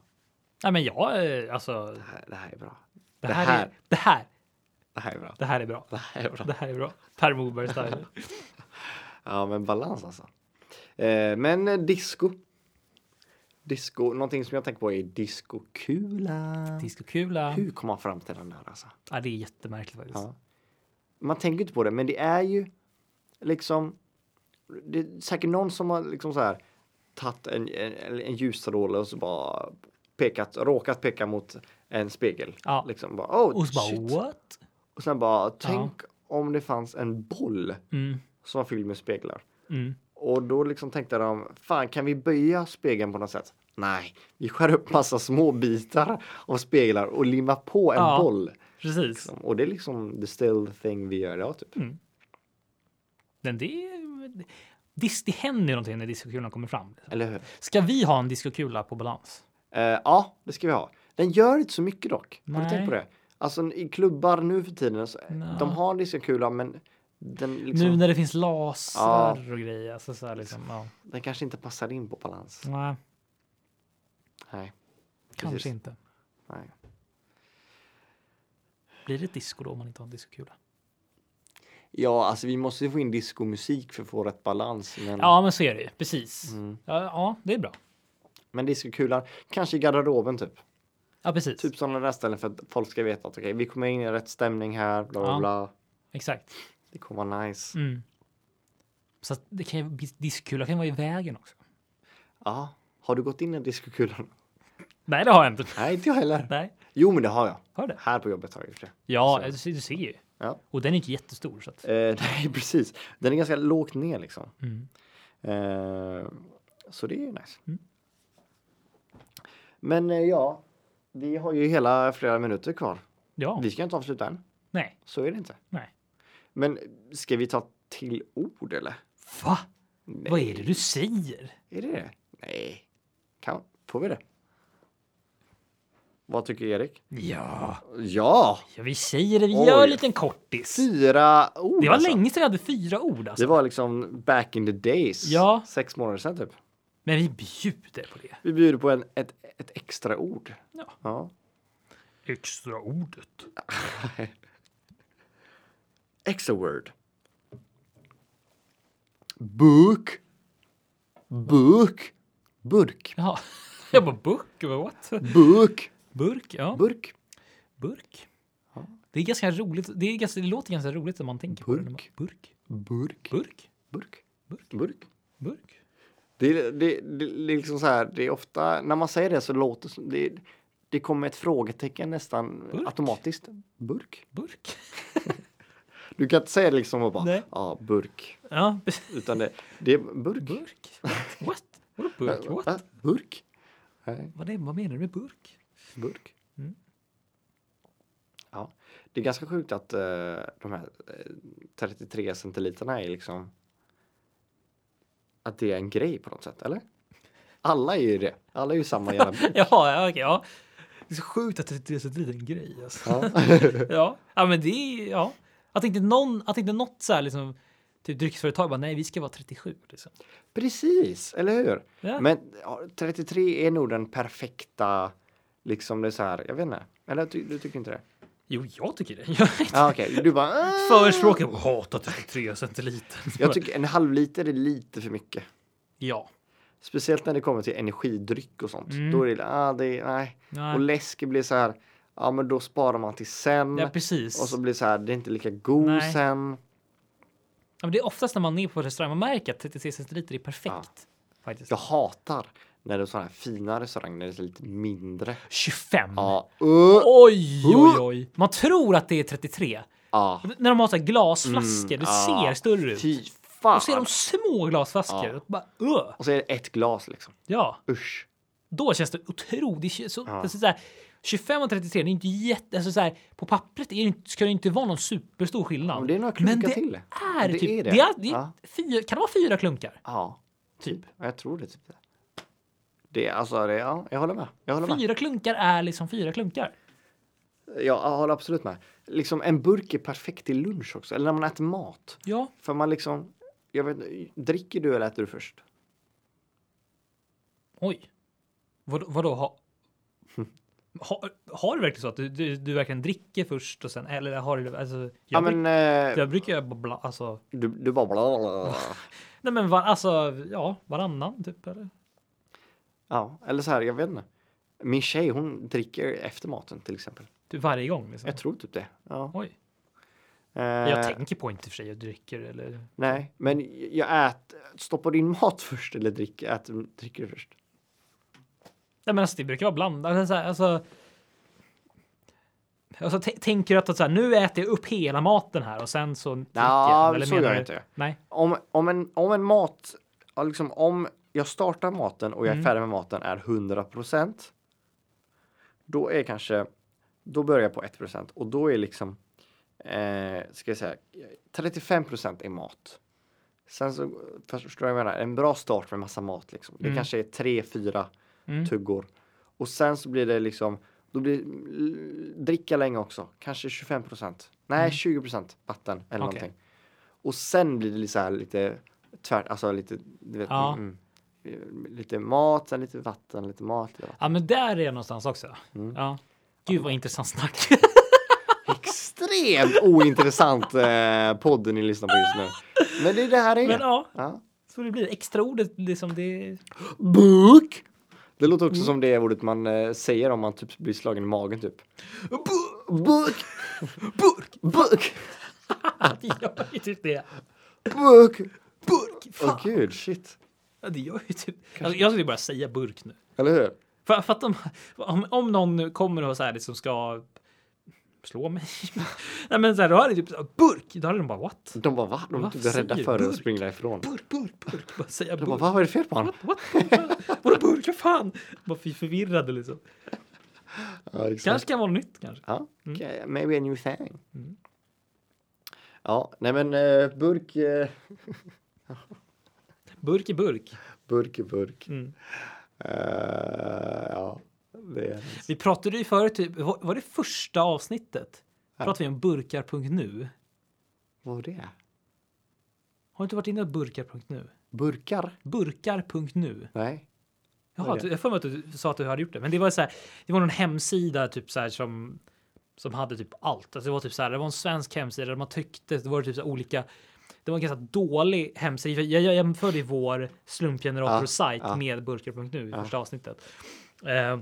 Speaker 2: Nej, men jag... eh, Alltså,
Speaker 1: det här, det här är bra.
Speaker 2: det,
Speaker 1: Det
Speaker 2: här
Speaker 1: här.
Speaker 2: Är, det, här,
Speaker 1: Det här är bra.
Speaker 2: det här är bra.
Speaker 1: Det här är bra.
Speaker 2: Det här är bra. Per Morberg style.
Speaker 1: Ja, men balans alltså. Eh, men eh, disco. Disco, någonting som jag tänker på är discokula.
Speaker 2: Diskokula.
Speaker 1: Hur kom man fram till den där alltså?
Speaker 2: Ja, det är jättemärkligt faktiskt.
Speaker 1: Ja. man tänker inte på det, men det är ju liksom, det är säkert någon som har liksom så här tagit en, en, en ljusstråle och så bara pekat, råkat peka mot en spegel.
Speaker 2: Ja.
Speaker 1: Liksom bara, oh,
Speaker 2: Och så
Speaker 1: shit.
Speaker 2: bara what?
Speaker 1: Och sen bara, tänk om det fanns en boll
Speaker 2: Mm,
Speaker 1: som var fylld med speglar.
Speaker 2: mm.
Speaker 1: Och då liksom tänkte de, fan kan vi böja spegeln på något sätt? Nej, vi skär upp massa små bitar av speglar och limmar på en
Speaker 2: Ja.
Speaker 1: boll.
Speaker 2: Precis.
Speaker 1: Liksom. Och det är liksom the still thing vi gör idag typ.
Speaker 2: Mm. Men det, är- visst, det händer ju någonting när diskokulan kommer fram.
Speaker 1: Eller hur?
Speaker 2: Ska vi ha en diskokula på balans?
Speaker 1: Eh, ja, det ska vi ha. Den gör inte så mycket dock. Har du
Speaker 2: Nej.
Speaker 1: tänkt på det? Alltså i klubbar nu för tiden, så,
Speaker 2: Nå.
Speaker 1: de har diskokula men den, liksom,
Speaker 2: Nu när det finns laser
Speaker 1: Ja.
Speaker 2: och grejer. Alltså så här liksom, ja.
Speaker 1: den kanske inte passar in på balans.
Speaker 2: Nej,
Speaker 1: Nej.
Speaker 2: kanske
Speaker 1: Precis.
Speaker 2: inte.
Speaker 1: Nej.
Speaker 2: Blir det disco då om man inte har en
Speaker 1: Mm.
Speaker 2: diskokula?
Speaker 1: Ja, alltså vi måste ju få in diskomusik för att få rätt balans. Men...
Speaker 2: Ja, men så är det ju. Precis.
Speaker 1: Mm.
Speaker 2: Ja, ja, det är bra.
Speaker 1: Men diskokulan, kanske i garderoben typ.
Speaker 2: Ja, precis.
Speaker 1: Typ sådana där ställen för att folk ska veta att okej, vi kommer in i rätt stämning här, bla bla
Speaker 2: Ja.
Speaker 1: bla.
Speaker 2: Exakt.
Speaker 1: Det kommer vara nice.
Speaker 2: Mm. Så att det kan, ju- diskokula kan ju vara i vägen också.
Speaker 1: Ja, har du gått in i diskokulan?
Speaker 2: Nej, det har jag inte.
Speaker 1: Nej, inte jag heller.
Speaker 2: Nej,
Speaker 1: Jo, men det har jag.
Speaker 2: har du det?
Speaker 1: Här på jobbet har jag gjort det.
Speaker 2: Ja,
Speaker 1: Så.
Speaker 2: du ser, du ser ju.
Speaker 1: Ja.
Speaker 2: Och den är inte jättestor. Så att,
Speaker 1: Eh, nej, precis. Den är ganska lågt ner liksom.
Speaker 2: mm.
Speaker 1: Eh, så det är ju nice.
Speaker 2: Mm.
Speaker 1: Men eh, ja, vi har ju hela flera minuter kvar.
Speaker 2: Ja,
Speaker 1: Vi ska inte avsluta än.
Speaker 2: nej.
Speaker 1: Så är det inte.
Speaker 2: Nej.
Speaker 1: Men ska vi ta till ord eller?
Speaker 2: Va?
Speaker 1: Nej.
Speaker 2: Vad är det du säger?
Speaker 1: Är det det? Nej. Kan, får vi det? Vad tycker Erik?
Speaker 2: Ja.
Speaker 1: Ja!
Speaker 2: ja vi säger det. Vi gör
Speaker 1: Oj.
Speaker 2: en liten kortis.
Speaker 1: Fyra ord
Speaker 2: Det var
Speaker 1: alltså.
Speaker 2: länge sedan vi hade fyra ord. Alltså.
Speaker 1: Det var liksom back in the days.
Speaker 2: Ja.
Speaker 1: Sex månader sedan typ.
Speaker 2: Men vi bjuder på det.
Speaker 1: Vi bjuder på en, ett, ett extra ord.
Speaker 2: Ja.
Speaker 1: ja.
Speaker 2: Extra ordet.
Speaker 1: Extra word. Book. Book. Burk.
Speaker 2: Ja. Jag bara burk, jag bara, what?
Speaker 1: Book.
Speaker 2: Burk, ja.
Speaker 1: Burk.
Speaker 2: Burk.
Speaker 1: Ja.
Speaker 2: Det är ganska roligt. Det, är ganska, det låter ganska roligt när man tänker på det. när man-
Speaker 1: Burk. Burk.
Speaker 2: Burk. Burk.
Speaker 1: Burk.
Speaker 2: Burk.
Speaker 1: Burk.
Speaker 2: Burk.
Speaker 1: Det, är- det, det, det är liksom så här, det är ofta, när man säger det så låter som- det, det kommer ett frågetecken nästan
Speaker 2: Burk.
Speaker 1: automatiskt. Burk.
Speaker 2: Burk.
Speaker 1: Du kan inte säga det liksom och bara,
Speaker 2: Nej.
Speaker 1: ja, burk.
Speaker 2: Ja,
Speaker 1: Utan det, det är burk.
Speaker 2: burk. What? What? Vadå burk?
Speaker 1: Äh,
Speaker 2: What?
Speaker 1: va? burk. Nej,
Speaker 2: Vad, är, vad menar du med burk?
Speaker 1: burk.
Speaker 2: Mm.
Speaker 1: Ja, det är ganska sjukt att eh, de här eh, 33 centiliterna är liksom att det är en grej på något sätt, eller? Alla är ju det. Alla är ju samma jävla burk.
Speaker 2: Ja, ja, okej, ja. Det är så sjukt att det är så liten grej. Alltså.
Speaker 1: Ja.
Speaker 2: Ja, ja men det är ja. Att inte någon, att inte något så här liksom typ dryckesföretag bara nej, vi ska vara 37 liksom.
Speaker 1: Precis, eller hur?
Speaker 2: Ja.
Speaker 1: Men ja, 33 är nog den perfekta, liksom det är så här, jag vet inte. Eller ty, du tycker inte det?
Speaker 2: Jo, jag tycker det. Jag är
Speaker 1: Ja, okej. Du bara... "Ah."
Speaker 2: förespråkar och hatar 33 centiliter.
Speaker 1: Jag tycker en halvliter är lite för mycket.
Speaker 2: ja.
Speaker 1: Speciellt när det kommer till energidryck och sånt.
Speaker 2: Mm.
Speaker 1: Då är det, ah, det är, nej. Och
Speaker 2: Nej.
Speaker 1: läsk blir så här, ja men då sparar man till sen.
Speaker 2: Ja, precis.
Speaker 1: och så blir det så här, det är inte lika god
Speaker 2: Nej.
Speaker 1: sen.
Speaker 2: ja, men det är oftast när man är på restaurang man märker att 33 centiliter är perfekt. Faktiskt.
Speaker 1: Jag hatar när det är sådana här fina restauranger, där det är lite mindre.
Speaker 2: 25.
Speaker 1: Ja, uh,
Speaker 2: Oj, oj, oj. Man tror att det är 33.
Speaker 1: ja.
Speaker 2: När de har så här glasflaskor,
Speaker 1: Mm,
Speaker 2: det
Speaker 1: ja.
Speaker 2: ser större ut.
Speaker 1: Fy fan.
Speaker 2: Och så är de små glasflaskor.
Speaker 1: Ja.
Speaker 2: Bara, öh.
Speaker 1: Och så är det ett glas liksom.
Speaker 2: Ja.
Speaker 1: Usch.
Speaker 2: då känns det otroligt. det är Så,
Speaker 1: Ja.
Speaker 2: alltså, så här, 25 och 33, det är inte jätte... Alltså, så här, på pappret är det, inte- ska det inte vara någon superstor skillnad.
Speaker 1: Men det är några
Speaker 2: Men
Speaker 1: klunkar
Speaker 2: det
Speaker 1: till.
Speaker 2: är
Speaker 1: det
Speaker 2: typ...
Speaker 1: är det.
Speaker 2: det är- det är
Speaker 1: Ja.
Speaker 2: fyra, kan det vara fyra klunkar?
Speaker 1: Ja,
Speaker 2: Typ.
Speaker 1: Ja, jag tror det. Typ. det. Det är alltså, det, ja, jag håller med. Jag håller med.
Speaker 2: Fyra klunkar är liksom fyra klunkar.
Speaker 1: Ja, jag håller absolut med. Liksom en burk är perfekt till lunch också, eller när man äter mat.
Speaker 2: Ja,
Speaker 1: För man liksom, jag vet inte, dricker du eller äter du först?
Speaker 2: oj. Vad, vadå? Ha, ha, har du verkligen så att du, du, du verkligen dricker först och sen... Eller har du... Alltså, jag,
Speaker 1: Ja,
Speaker 2: bruk,
Speaker 1: men eh,
Speaker 2: jag brukar... bara Bla, alltså,
Speaker 1: du, du bara bla, bla, bla.
Speaker 2: nej, men var, alltså, ja, varannan typ. Eller?
Speaker 1: Ja, eller så här, jag vet inte. Min tjej, hon dricker efter maten till exempel.
Speaker 2: Typ varje gång. Liksom.
Speaker 1: Jag tror typ det. Ja.
Speaker 2: Oj.
Speaker 1: Eh,
Speaker 2: Jag
Speaker 1: Eh,
Speaker 2: tänker på inte i och för sig, jag dricker eller...
Speaker 1: Nej, men jag äter, stoppar du in mat först eller dricker, äter, dricker du först?
Speaker 2: Nej men alltså det brukar vara blandat. Alltså, så här, alltså, alltså t- tänker du att, att så här, nu äter jag upp hela maten här och sen så... dricker jag,
Speaker 1: så
Speaker 2: menar
Speaker 1: gör jag
Speaker 2: du-
Speaker 1: inte.
Speaker 2: Nej.
Speaker 1: Om, om, en, om en mat, ja, liksom om jag startar maten och jag är
Speaker 2: Mm.
Speaker 1: färdig med maten är 100 procent. Då är kanske, då börjar jag på 1 procent och då är liksom, eh, ska jag säga, 35 procent är mat. Sen så, förstår du vad jag menar, en bra start med massa mat liksom. Det
Speaker 2: Mm.
Speaker 1: kanske är 3-4
Speaker 2: Mm.
Speaker 1: tuggor. Och sen så blir det liksom, då blir l- dricka länge också, kanske 25 procent. Nej,
Speaker 2: Mm.
Speaker 1: 20 procent vatten eller
Speaker 2: Okej.
Speaker 1: någonting. Och sen blir det lite så här lite tvärt, alltså lite, du vet,
Speaker 2: Ja.
Speaker 1: mm, mm. lite mat, sen lite vatten, lite mat. Lite vatten.
Speaker 2: Ja men där är jag någonstans också.
Speaker 1: Mm.
Speaker 2: Ja. Gud vad intressant snack.
Speaker 1: Extremt ointressant eh, podden ni lyssnar på just nu. Men det är det här det är.
Speaker 2: men ja,
Speaker 1: Ja.
Speaker 2: så det blir extra ordet liksom det...
Speaker 1: Book! Det låter
Speaker 2: Mm.
Speaker 1: också som det ordet man eh, säger om man typ blir slagen i magen typ. Book! Burk! Burk!
Speaker 2: Det gör ju typ det.
Speaker 1: Burk!
Speaker 2: Burk! Fan.
Speaker 1: Åh gud, shit.
Speaker 2: Ja, det gör ju typ... Alltså, jag skulle bara säga burk nu.
Speaker 1: Eller hur?
Speaker 2: För, för att om, om, om någon nu kommer och så här liksom ska slå mig. Nej men så här, då hade det typ så här, burk. Då hade de bara what?
Speaker 1: De bara va? De var
Speaker 2: Vad
Speaker 1: inte rädda
Speaker 2: säger
Speaker 1: för att
Speaker 2: Burk?
Speaker 1: springa ifrån.
Speaker 2: Burk, burk, burk. Bara säga
Speaker 1: De bara
Speaker 2: burk.
Speaker 1: va, vad är det fel på honom?
Speaker 2: What? Vadå burk? Vad fan? Bara för- förvirrade liksom.
Speaker 1: Ja, exakt.
Speaker 2: Kanske kan vara nytt kanske.
Speaker 1: Ja, okay, maybe a new thing.
Speaker 2: Mm.
Speaker 1: Ja, nej men eh, burk, eh,
Speaker 2: Burk är burk.
Speaker 1: burk är burk.
Speaker 2: Mm.
Speaker 1: Eh, ja, det är
Speaker 2: Vi pratade ju förut, typ, var var det första avsnittet? Pratade vi om burkar.nu?
Speaker 1: Vad var det?
Speaker 2: Har du inte varit inne på burkar.nu?
Speaker 1: Burkar?
Speaker 2: Burkar.nu.
Speaker 1: Nej.
Speaker 2: Jaha,
Speaker 1: Vad är det?
Speaker 2: du- jag har för mig att du sa att du hade gjort det. Men det var så här, det var någon hemsida typ så här som som hade typ allt. Alltså det var typ så här, det var en svensk hemsida där man tyckte det var typ så här olika. Det var en ganska dålig hemsida. Jag, jag jämförde ju vår
Speaker 1: Ja,
Speaker 2: slumpgenerator-sajt
Speaker 1: ja.
Speaker 2: med burkar.nu i
Speaker 1: Ja.
Speaker 2: första avsnittet. Eh,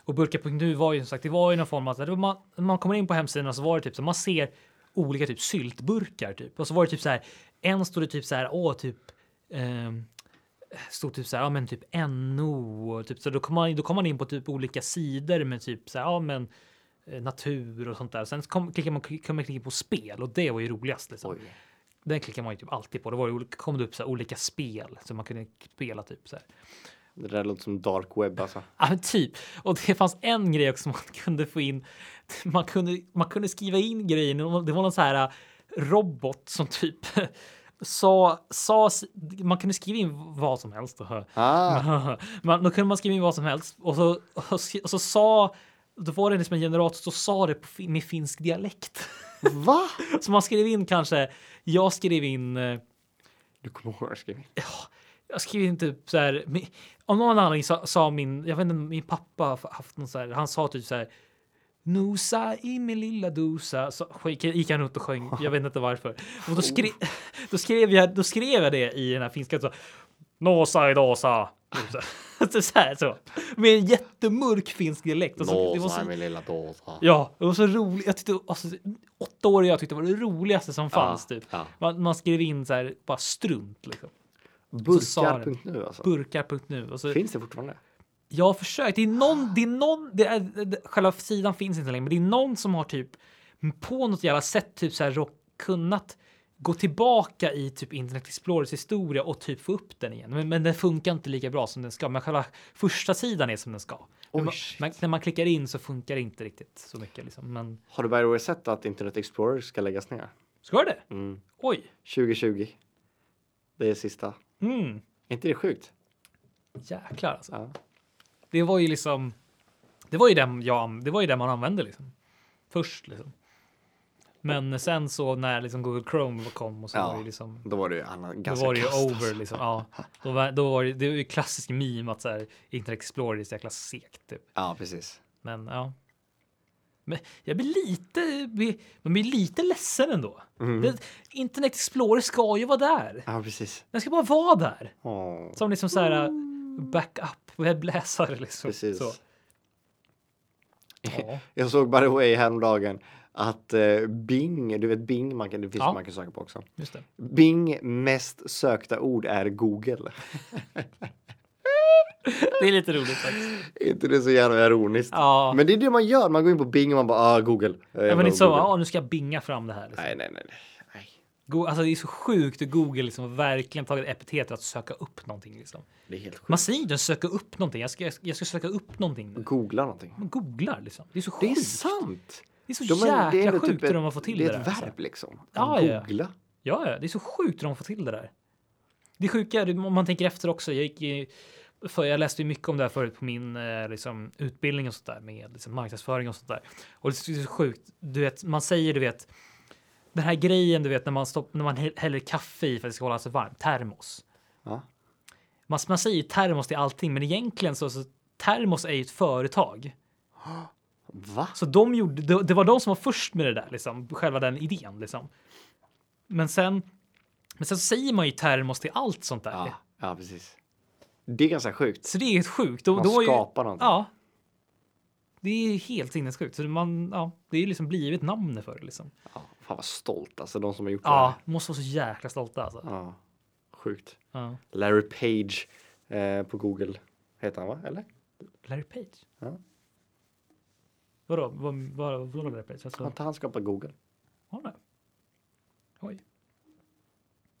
Speaker 2: och burkar.nu var ju som sagt, det var ju någon form av, så här, det var man, man kommer in på hemsidan och så var det typ så här, man ser olika typ syltburkar typ. Och så var det typ så här, en stod det typ så här, åh typ ehm, stod typ så här, ja men typ NO och typ så då kom man, in- då kom man in på typ olika sidor med typ så här, ja men eh, natur och sånt där. Sen så kom, klickar man, kan man klicka på spel och det var ju roligast. Liksom.
Speaker 1: Oj.
Speaker 2: Den klickar man ju typ alltid på. Då var det, olika- kom det upp så här olika spel som man kunde spela typ så här.
Speaker 1: Det där låter som dark web alltså.
Speaker 2: Ja, men typ. Och det fanns en grej också man kunde få in. Man kunde, man kunde skriva in grejen. och Det var någon så här äh, robot som typ sa, sa... Man kunde skriva in vad som helst.
Speaker 1: Ah,
Speaker 2: Man, då kunde man skriva in vad som helst och så, och, så- och så sa... Då var det liksom en generator som sa det på, fin- med finsk dialekt.
Speaker 1: va?
Speaker 2: Så man skrev in kanske... Jag skrev in... eh,
Speaker 1: Du kommer ihåg vad jag skrev?
Speaker 2: jag skriver inte typ så här. men Om någon anledning sa, sa min, jag vet inte, min pappa har haft någon så här. Han sa typ så här. Nosa i min lilla dosa. Så gick, gick han runt och sjöng. Jag vet inte varför. Och då, skri, då, skrev jag, då skrev jag det i den här finska. Så, Nosa i dosa. Typ så här. Typ så här, så. Med en jättemörk finsk dialekt. Och så, Alltså, det var så,
Speaker 1: min lilla dåsa.
Speaker 2: ja, det var så roligt. Jag tyckte, alltså, åtta år jag tyckte det var det roligaste som fanns. typ.
Speaker 1: ja.
Speaker 2: Man, man skrev in så här, bara strunt liksom. sa den.
Speaker 1: Burkar.nu alltså.
Speaker 2: Burkar.nu. Och så,
Speaker 1: Finns det fortfarande?
Speaker 2: jag har försökt. Det är någon, det är någon, det är, det, själva sidan finns inte längre, men det är någon som har typ på något jävla sätt typ så här rock, kunnat gå tillbaka i typ Internet Explorers historia och typ få upp den igen. Men, men den funkar inte lika bra som den ska. Men själva första sidan är som den ska.
Speaker 1: Oj,
Speaker 2: Men man,
Speaker 1: shit.
Speaker 2: man, när man klickar in så funkar det inte riktigt så mycket liksom. Men
Speaker 1: Har du by the way sett att Internet Explorer ska läggas ner?
Speaker 2: ska det?
Speaker 1: Mm.
Speaker 2: Oj.
Speaker 1: 2020. Det är sista.
Speaker 2: Mm.
Speaker 1: Är inte det sjukt?
Speaker 2: Jäklar alltså.
Speaker 1: Ja.
Speaker 2: Det var ju liksom. Det var ju den jag, det var ju den man använde liksom. Först liksom. Men sen så när liksom Google Chrome kom och så
Speaker 1: Ja.
Speaker 2: var det ju liksom.
Speaker 1: Då var det ju annan,
Speaker 2: Då
Speaker 1: ganska
Speaker 2: var det ju
Speaker 1: kast,
Speaker 2: over
Speaker 1: alltså.
Speaker 2: liksom. Ja, då var, då var det, det var ju klassisk meme att så här Internet Explorer är så jäkla segt typ.
Speaker 1: Ja, precis.
Speaker 2: Men ja. Men jag blir lite, blir- man blir lite ledsen ändå.
Speaker 1: Mm.
Speaker 2: Det, Internet Explorer ska ju vara där.
Speaker 1: Ja, precis.
Speaker 2: Den ska bara vara där.
Speaker 1: Åh,
Speaker 2: Som liksom så här backup webbläsare liksom.
Speaker 1: precis.
Speaker 2: Så. Ja.
Speaker 1: Jag såg by the way häromdagen att eh, Bing, du vet Bing, man kan, det finns
Speaker 2: Ja.
Speaker 1: man kan söka på också.
Speaker 2: Just det.
Speaker 1: Bing mest sökta ord är Google.
Speaker 2: Det är lite roligt faktiskt.
Speaker 1: Är inte det så jävla ironiskt?
Speaker 2: Ja.
Speaker 1: Men det är det man gör, man går in på Bing och man bara ah, Google. Jag
Speaker 2: Ja,
Speaker 1: bara,
Speaker 2: men inte så,
Speaker 1: Google.
Speaker 2: ja, nu ska jag binga fram det här. Liksom.
Speaker 1: Nej, nej, nej. nej. nej.
Speaker 2: Go- Alltså, det är så sjukt hur Google liksom har verkligen tagit epitetet att söka upp någonting. Liksom.
Speaker 1: Det är helt sjukt.
Speaker 2: Man säger inte söka upp någonting. Jag ska, jag ska söka upp någonting. nu.
Speaker 1: Googla någonting.
Speaker 2: Man googlar liksom. Det är så
Speaker 1: Det är
Speaker 2: sjukt.
Speaker 1: sant!
Speaker 2: Det är så
Speaker 1: De är-
Speaker 2: jäkla
Speaker 1: ändå typ
Speaker 2: sjukt hur
Speaker 1: ett-
Speaker 2: de har fått till
Speaker 1: det
Speaker 2: det,
Speaker 1: är
Speaker 2: där.
Speaker 1: ett
Speaker 2: alltså.
Speaker 1: verb liksom.
Speaker 2: Ja, ja.
Speaker 1: Googla.
Speaker 2: Ja, ja, det är så sjukt hur de får till det där. Det sjuka, det- om man tänker efter också, jag gick i, för jag läste ju mycket om det här förut på min eh, liksom, utbildning och sånt där med liksom, marknadsföring och sånt där. Och det är så sjukt, du vet, man säger du vet, den här grejen du vet när man, stopp, när man hä- häller kaffe i för att det ska hålla sig varmt, termos.
Speaker 1: Ja.
Speaker 2: Man, man säger ju termos till allting, men egentligen så, så termos är ju ett företag.
Speaker 1: Va?
Speaker 2: Så de gjorde, det, det var de som var först med det där, liksom, själva den idén. Liksom. Men, sen, men sen säger man ju termos till allt sånt där.
Speaker 1: Ja, ja, precis. Det är ganska sjukt.
Speaker 2: Så det är helt sjukt. Då,
Speaker 1: Man
Speaker 2: då är
Speaker 1: skapar
Speaker 2: ju,
Speaker 1: någonting.
Speaker 2: Ja. Det är helt sinnessjukt. Så man, ja, det är ju liksom blivit namnet för det. Liksom.
Speaker 1: Ja, fan vad stolt alltså, de som har gjort
Speaker 2: Ja, måste vara så jäkla stolta alltså.
Speaker 1: det. här. Ja, sjukt.
Speaker 2: Ja.
Speaker 1: Larry Page eh, på Google heter han va? Eller?
Speaker 2: Larry Page.
Speaker 1: Ja.
Speaker 2: Vadå? Vad vad- vad var Larry Page?
Speaker 1: Har
Speaker 2: Alltså,
Speaker 1: inte han skapat Google?
Speaker 2: har han det? Oj.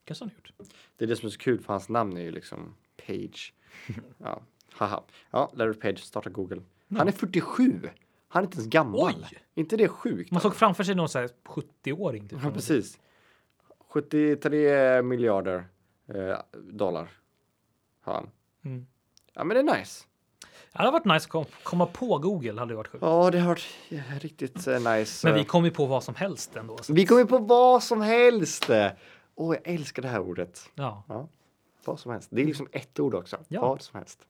Speaker 2: Kanske han har gjort.
Speaker 1: Det är det som är så kul för hans namn är ju liksom Page. Ja, haha. Ja, Larry Page startar Google. Han är 47! Han är inte ens gammal.
Speaker 2: Oj!
Speaker 1: inte det sjukt?
Speaker 2: Man såg framför sig någon så här 70-åring. Typ,
Speaker 1: Ja, precis. 73 miljarder eh, dollar har han.
Speaker 2: Mm.
Speaker 1: Ja, men det är nice.
Speaker 2: Ja, det hade varit nice att kom- komma på Google. Hade det varit sjukt.
Speaker 1: Ja, det har varit eh, riktigt eh, nice.
Speaker 2: Men vi
Speaker 1: eh.
Speaker 2: kom ju på vad som helst ändå. Så.
Speaker 1: vi kom ju på vad som helst. Åh, jag älskar det här ordet.
Speaker 2: Ja.
Speaker 1: Ja, vad som helst. Det är liksom ett ord också.
Speaker 2: Ja.
Speaker 1: Vad som helst.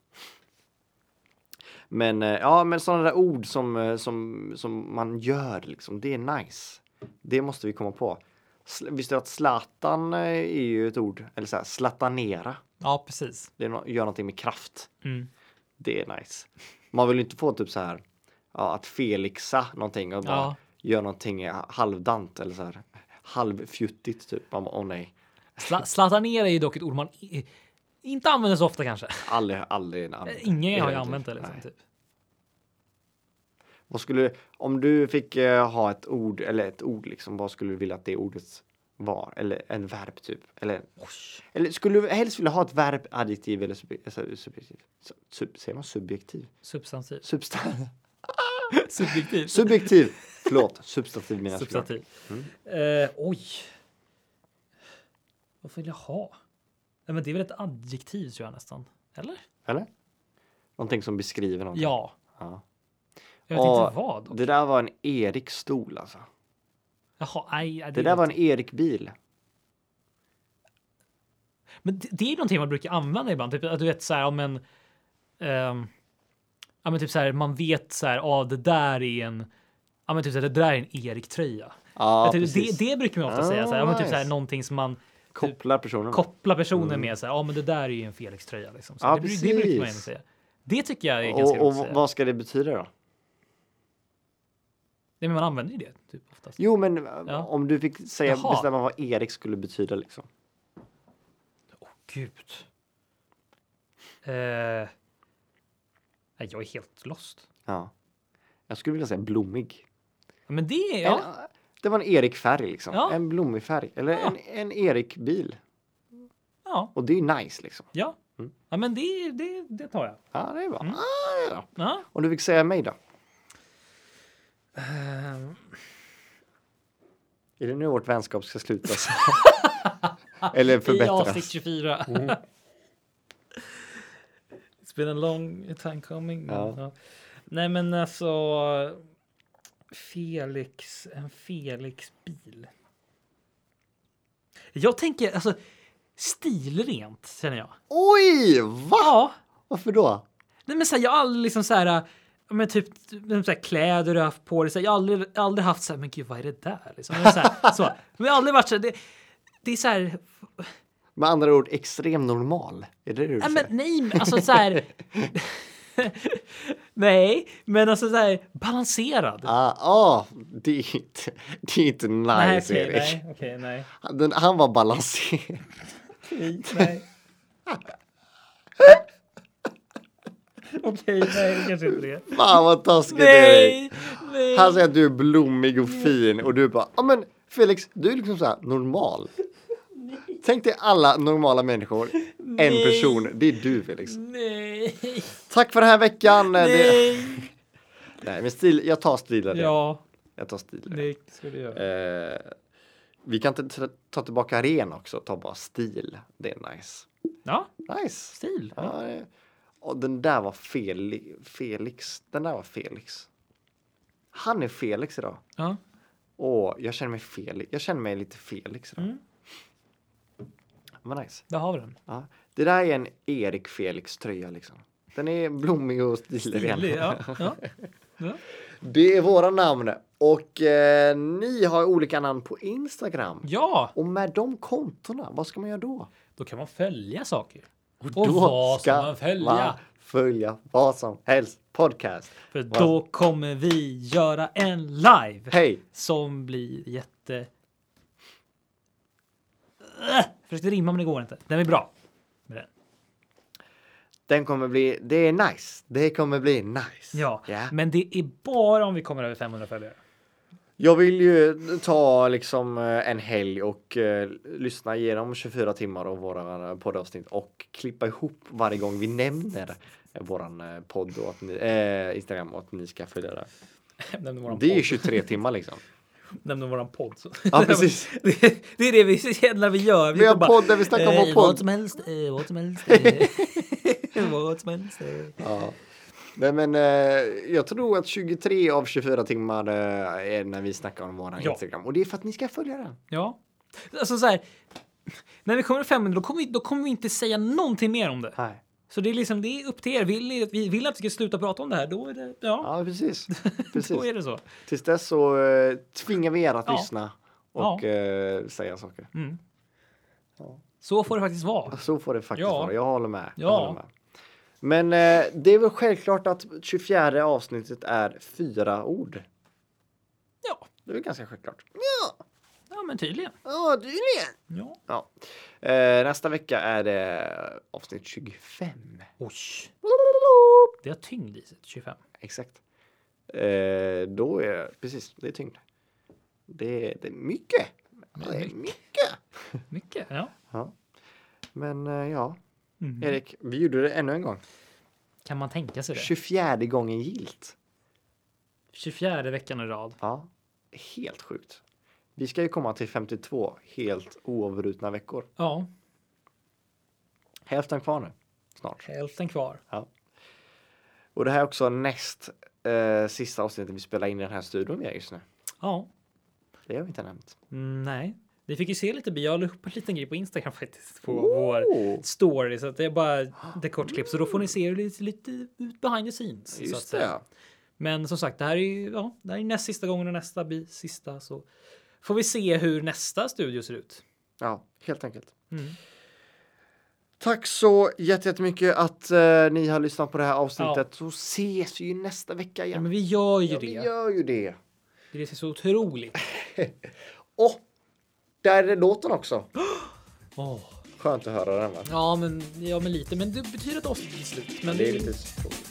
Speaker 1: Men eh, ja, men sådana där ord som, eh, som, som man gör liksom, det är nice. Det måste vi komma på. Sl- Visste du att Zlatan eh, är ju ett ord, eller så här, slatanera.
Speaker 2: ja, precis.
Speaker 1: Det är no- gör någonting med kraft.
Speaker 2: Mm.
Speaker 1: Det är nice. Man vill ju inte få typ så här, ja, att Felixa någonting och bara
Speaker 2: Ja.
Speaker 1: gör någonting eh, halvdant eller så här halvfjuttigt typ. Man bara, åh nej,
Speaker 2: Sla- Slatanera är ju dock ett ord man i- inte använder så ofta kanske.
Speaker 1: aldrig, aldrig. aldrig.
Speaker 2: Ingen har ju
Speaker 1: Eller typ,
Speaker 2: använt det. Liksom,
Speaker 1: nej.
Speaker 2: typ.
Speaker 1: Vad skulle, om du fick eh, ha ett ord, eller ett ord liksom, vad skulle du vilja att det ordet var? Eller en verb typ? Eller, eller skulle du helst vilja ha ett verb, adjektiv eller sub, alltså, subjektiv? Sub, sub, säger man subjektiv?
Speaker 2: Substantiv.
Speaker 1: Substan
Speaker 2: Subjektiv.
Speaker 1: subjektiv! Förlåt, substantiv Mm. menar jag såklart.
Speaker 2: Substantiv. Eh, oj. Vad vill jag ha? Nej, men det är väl ett adjektiv tror jag nästan. Eller?
Speaker 1: Eller? Någonting som beskriver någonting.
Speaker 2: Ja.
Speaker 1: Ja.
Speaker 2: Jag vet
Speaker 1: Ja,
Speaker 2: inte vad. dock.
Speaker 1: Det där var en Erik-stol alltså.
Speaker 2: Jaha, nej, det,
Speaker 1: Det
Speaker 2: är
Speaker 1: där var
Speaker 2: något-
Speaker 1: en Erik-bil.
Speaker 2: Men det, det är någonting man brukar använda ibland. Typ, att du vet så här, om en... ehm, ja, men typ så här, man vet så här, ah, det där är en... Ja, men typ så här, det där är en Erik-tröja.
Speaker 1: Ja,
Speaker 2: Jag typ,
Speaker 1: precis.
Speaker 2: det, det brukar man ofta
Speaker 1: Ah,
Speaker 2: säga. Så här, ja, men typ så här,
Speaker 1: nice.
Speaker 2: någonting som man
Speaker 1: Kopplar personen.
Speaker 2: kopplar personen med. Så här, ja, men det där är ju en Felix-tröja. Liksom. Så
Speaker 1: Ja,
Speaker 2: det, bru- det brukar man ändå
Speaker 1: precis.
Speaker 2: säga. Det tycker jag är ganska
Speaker 1: och,
Speaker 2: roligt
Speaker 1: och
Speaker 2: att säga.
Speaker 1: vad ska det betyda då?
Speaker 2: Nej, men man använder ju det typ, oftast.
Speaker 1: Jo, men eh,
Speaker 2: Ja.
Speaker 1: om du fick säga,
Speaker 2: Jaha.
Speaker 1: bestämma vad Erik skulle betyda liksom.
Speaker 2: Åh, gud. Eh, nej, jag är helt lost.
Speaker 1: Ja. Jag skulle vilja säga blommig.
Speaker 2: Men det är... Ja.
Speaker 1: En, det var en Erik-färg liksom.
Speaker 2: Ja.
Speaker 1: En blommig färg. Eller
Speaker 2: Ja.
Speaker 1: en, en Erik-bil.
Speaker 2: ja.
Speaker 1: Och det är ju nice liksom.
Speaker 2: Ja, ja men det, det, det tar jag.
Speaker 1: Ja, det är bra.
Speaker 2: Mm.
Speaker 1: Ah, det är bra.
Speaker 2: Ja.
Speaker 1: Om du fick säga mig då? Är det nu vårt vänskap ska slutas? Eller
Speaker 2: I
Speaker 1: förbättras?
Speaker 2: avsnitt 24. It's been a long time coming. men,
Speaker 1: Ja.
Speaker 2: ja. Nej men alltså. Felix, en Felix-bil. Jag tänker alltså stilrent känner jag.
Speaker 1: Oj, va? Varför då?
Speaker 2: Nej, men så här, jag har aldrig liksom så här, äh, men typ men så här, kläder du har haft på dig. Så här, jag har aldrig, aldrig haft så här, men gud vad är det där? Liksom. Men, så här, så, men jag har aldrig varit så här, det, det är så här,
Speaker 1: Med andra ord, extrem normal. Är det det du
Speaker 2: nej
Speaker 1: säger?
Speaker 2: men nej, men alltså så här. Nej, men alltså så här balanserad.
Speaker 1: Ah, ah, det, är inte, det är inte nice,
Speaker 2: okej,
Speaker 1: Erik.
Speaker 2: nej, okej, nej.
Speaker 1: Han- Den, han var balanserad.
Speaker 2: Okej, nej. Okej, nej, kanske inte det.
Speaker 1: Fan vad taskigt, Erik.
Speaker 2: Nej, nej.
Speaker 1: Han säger att du är blommig och fin och du bara, ja ah, men Felix, du är liksom så här normal. Tänk dig alla normala människor, en
Speaker 2: Nej.
Speaker 1: person, det är du Felix.
Speaker 2: Nej,
Speaker 1: Tack för den här veckan! Det,
Speaker 2: nej.
Speaker 1: nej men stil, jag tar stil av det.
Speaker 2: Ja,
Speaker 1: Jag tar stil av det.
Speaker 2: det ska du göra.
Speaker 1: Eh, vi kan inte tra- ta tillbaka ren också, ta bara stil. Det är nice.
Speaker 2: Ja,
Speaker 1: Nice!
Speaker 2: stil.
Speaker 1: Ja, det, och den där var Feli, Felix. Den där var Felix. Han är Felix idag.
Speaker 2: Ja.
Speaker 1: Åh, jag känner mig Felix. Jag känner mig lite Felix idag.
Speaker 2: Mm.
Speaker 1: Vad nice.
Speaker 2: Där har vi den.
Speaker 1: Ja. Det där är en Erik Felix tröja liksom. Den är blommig och stilren.
Speaker 2: Stilig, ja. ja.
Speaker 1: Det är våra namn och eh, ni har olika namn på Instagram.
Speaker 2: ja,
Speaker 1: Och med de kontona, vad ska man göra då?
Speaker 2: då kan man följa saker. Och,
Speaker 1: då
Speaker 2: vad ska man följa?
Speaker 1: man följa vad som helst podcast.
Speaker 2: För
Speaker 1: vad-
Speaker 2: då kommer vi göra en live
Speaker 1: Hej!
Speaker 2: som blir jätte... Äh, försökte rimma men det går inte. Den är bra. Med den.
Speaker 1: Den kommer bli, det är nice. Det kommer bli nice.
Speaker 2: Ja, men det är bara om vi kommer över 500 följare.
Speaker 1: Jag vill ju ta liksom eh, en helg och eh, lyssna igenom 24 timmar av våra eh, poddavsnitt och klippa ihop varje gång vi nämner eh, våran eh, podd och att ni, eh, Instagram och att ni ska följa det.
Speaker 2: Nämnde våran
Speaker 1: Det är ju
Speaker 2: podd.
Speaker 1: 23 timmar liksom.
Speaker 2: Nämnde våran podd. Så.
Speaker 1: Ja, precis.
Speaker 2: det, det är det vi känner vi gör.
Speaker 1: Vi har
Speaker 2: bara,
Speaker 1: podd där vi snackar om vår
Speaker 2: eh,
Speaker 1: podd."
Speaker 2: Vad som helst, eh, vad som helst. eh, vad som helst. eh.
Speaker 1: Ja. Nej men eh, jag tror att 23 av 24 timmar eh, är när vi snackar om våran
Speaker 2: Ja.
Speaker 1: Instagram och det är för att ni ska följa den.
Speaker 2: Ja. Alltså så här. När vi kommer till 500 då kommer, vi, då kommer vi inte säga någonting mer om det.
Speaker 1: Nej.
Speaker 2: Så det är liksom det är upp till er. Vill ni, vi- vill ni att vi ska sluta prata om det här då är det ja,
Speaker 1: Ja precis. precis.
Speaker 2: då är det så.
Speaker 1: Tills dess så eh, tvingar vi er att
Speaker 2: Ja.
Speaker 1: lyssna och eh, säga saker.
Speaker 2: Mm.
Speaker 1: Ja.
Speaker 2: Så får det faktiskt vara.
Speaker 1: Så får det faktiskt
Speaker 2: Ja.
Speaker 1: vara. Jag håller med. Jag
Speaker 2: Ja.
Speaker 1: håller med. Men eh, det är väl självklart att 24 avsnittet är fyra ord.
Speaker 2: Ja,
Speaker 1: Det är väl ganska självklart.
Speaker 2: ja men tydligen.
Speaker 1: Ja, du är
Speaker 2: Ja.
Speaker 1: Ja. Eh, nästa vecka är det avsnitt 25.
Speaker 2: Oj, det har tyngd i sig. 25.
Speaker 1: Exakt. Eh, då är precis, det är tyngd. Det är, det är mycket. Det är mycket.
Speaker 2: Mycket. Ja.
Speaker 1: Ja. Men eh, ja,
Speaker 2: Mm.
Speaker 1: Erik, vi gjorde det ännu en gång.
Speaker 2: Kan man tänka sig det?
Speaker 1: 24 gången gilt.
Speaker 2: 24 veckan i rad.
Speaker 1: Ja, helt sjukt. Vi ska ju komma till 52 helt oavbrutna veckor.
Speaker 2: Ja,
Speaker 1: Hälften kvar nu, snart.
Speaker 2: hälften kvar.
Speaker 1: Och det här är också näst eh, sista avsnittet vi spelar in i den här studion vi är just nu.
Speaker 2: Ja,
Speaker 1: Det har vi inte nämnt.
Speaker 2: mm, nej. Vi fick ju se lite, jag la upp en liten grej på Instagram faktiskt på vår
Speaker 1: Oh,
Speaker 2: story så att det är bara ett kort klipp så då får ni se hur det ser lite ut behind the scenes. så att eh,
Speaker 1: just
Speaker 2: säga.
Speaker 1: det.
Speaker 2: Men som sagt, det här är ju ja, det här är näst sista gången och nästa blir sista så får vi se hur nästa studio ser ut.
Speaker 1: Ja, helt enkelt.
Speaker 2: Mm.
Speaker 1: Tack så jätte- jättemycket att eh, ni har lyssnat på det här avsnittet. Så ses vi ju nästa vecka
Speaker 2: Ja,
Speaker 1: igen.
Speaker 2: men vi gör ju
Speaker 1: Ja,
Speaker 2: det.
Speaker 1: vi gör ju det.
Speaker 2: Det ser så otroligt.
Speaker 1: Och där är låten också.
Speaker 2: Åh.
Speaker 1: Skönt att höra den va?
Speaker 2: Ja, men ja, men lite, men det betyder att avsnittet är slut. Men
Speaker 1: Det är lite tråkigt.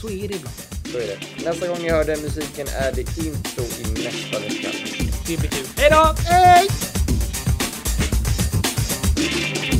Speaker 2: så är det ibland.
Speaker 1: Så är det. Nästa gång ni hör den musiken är det intro i nästa vecka.
Speaker 2: Det blir kul. Hej då!
Speaker 1: Hej!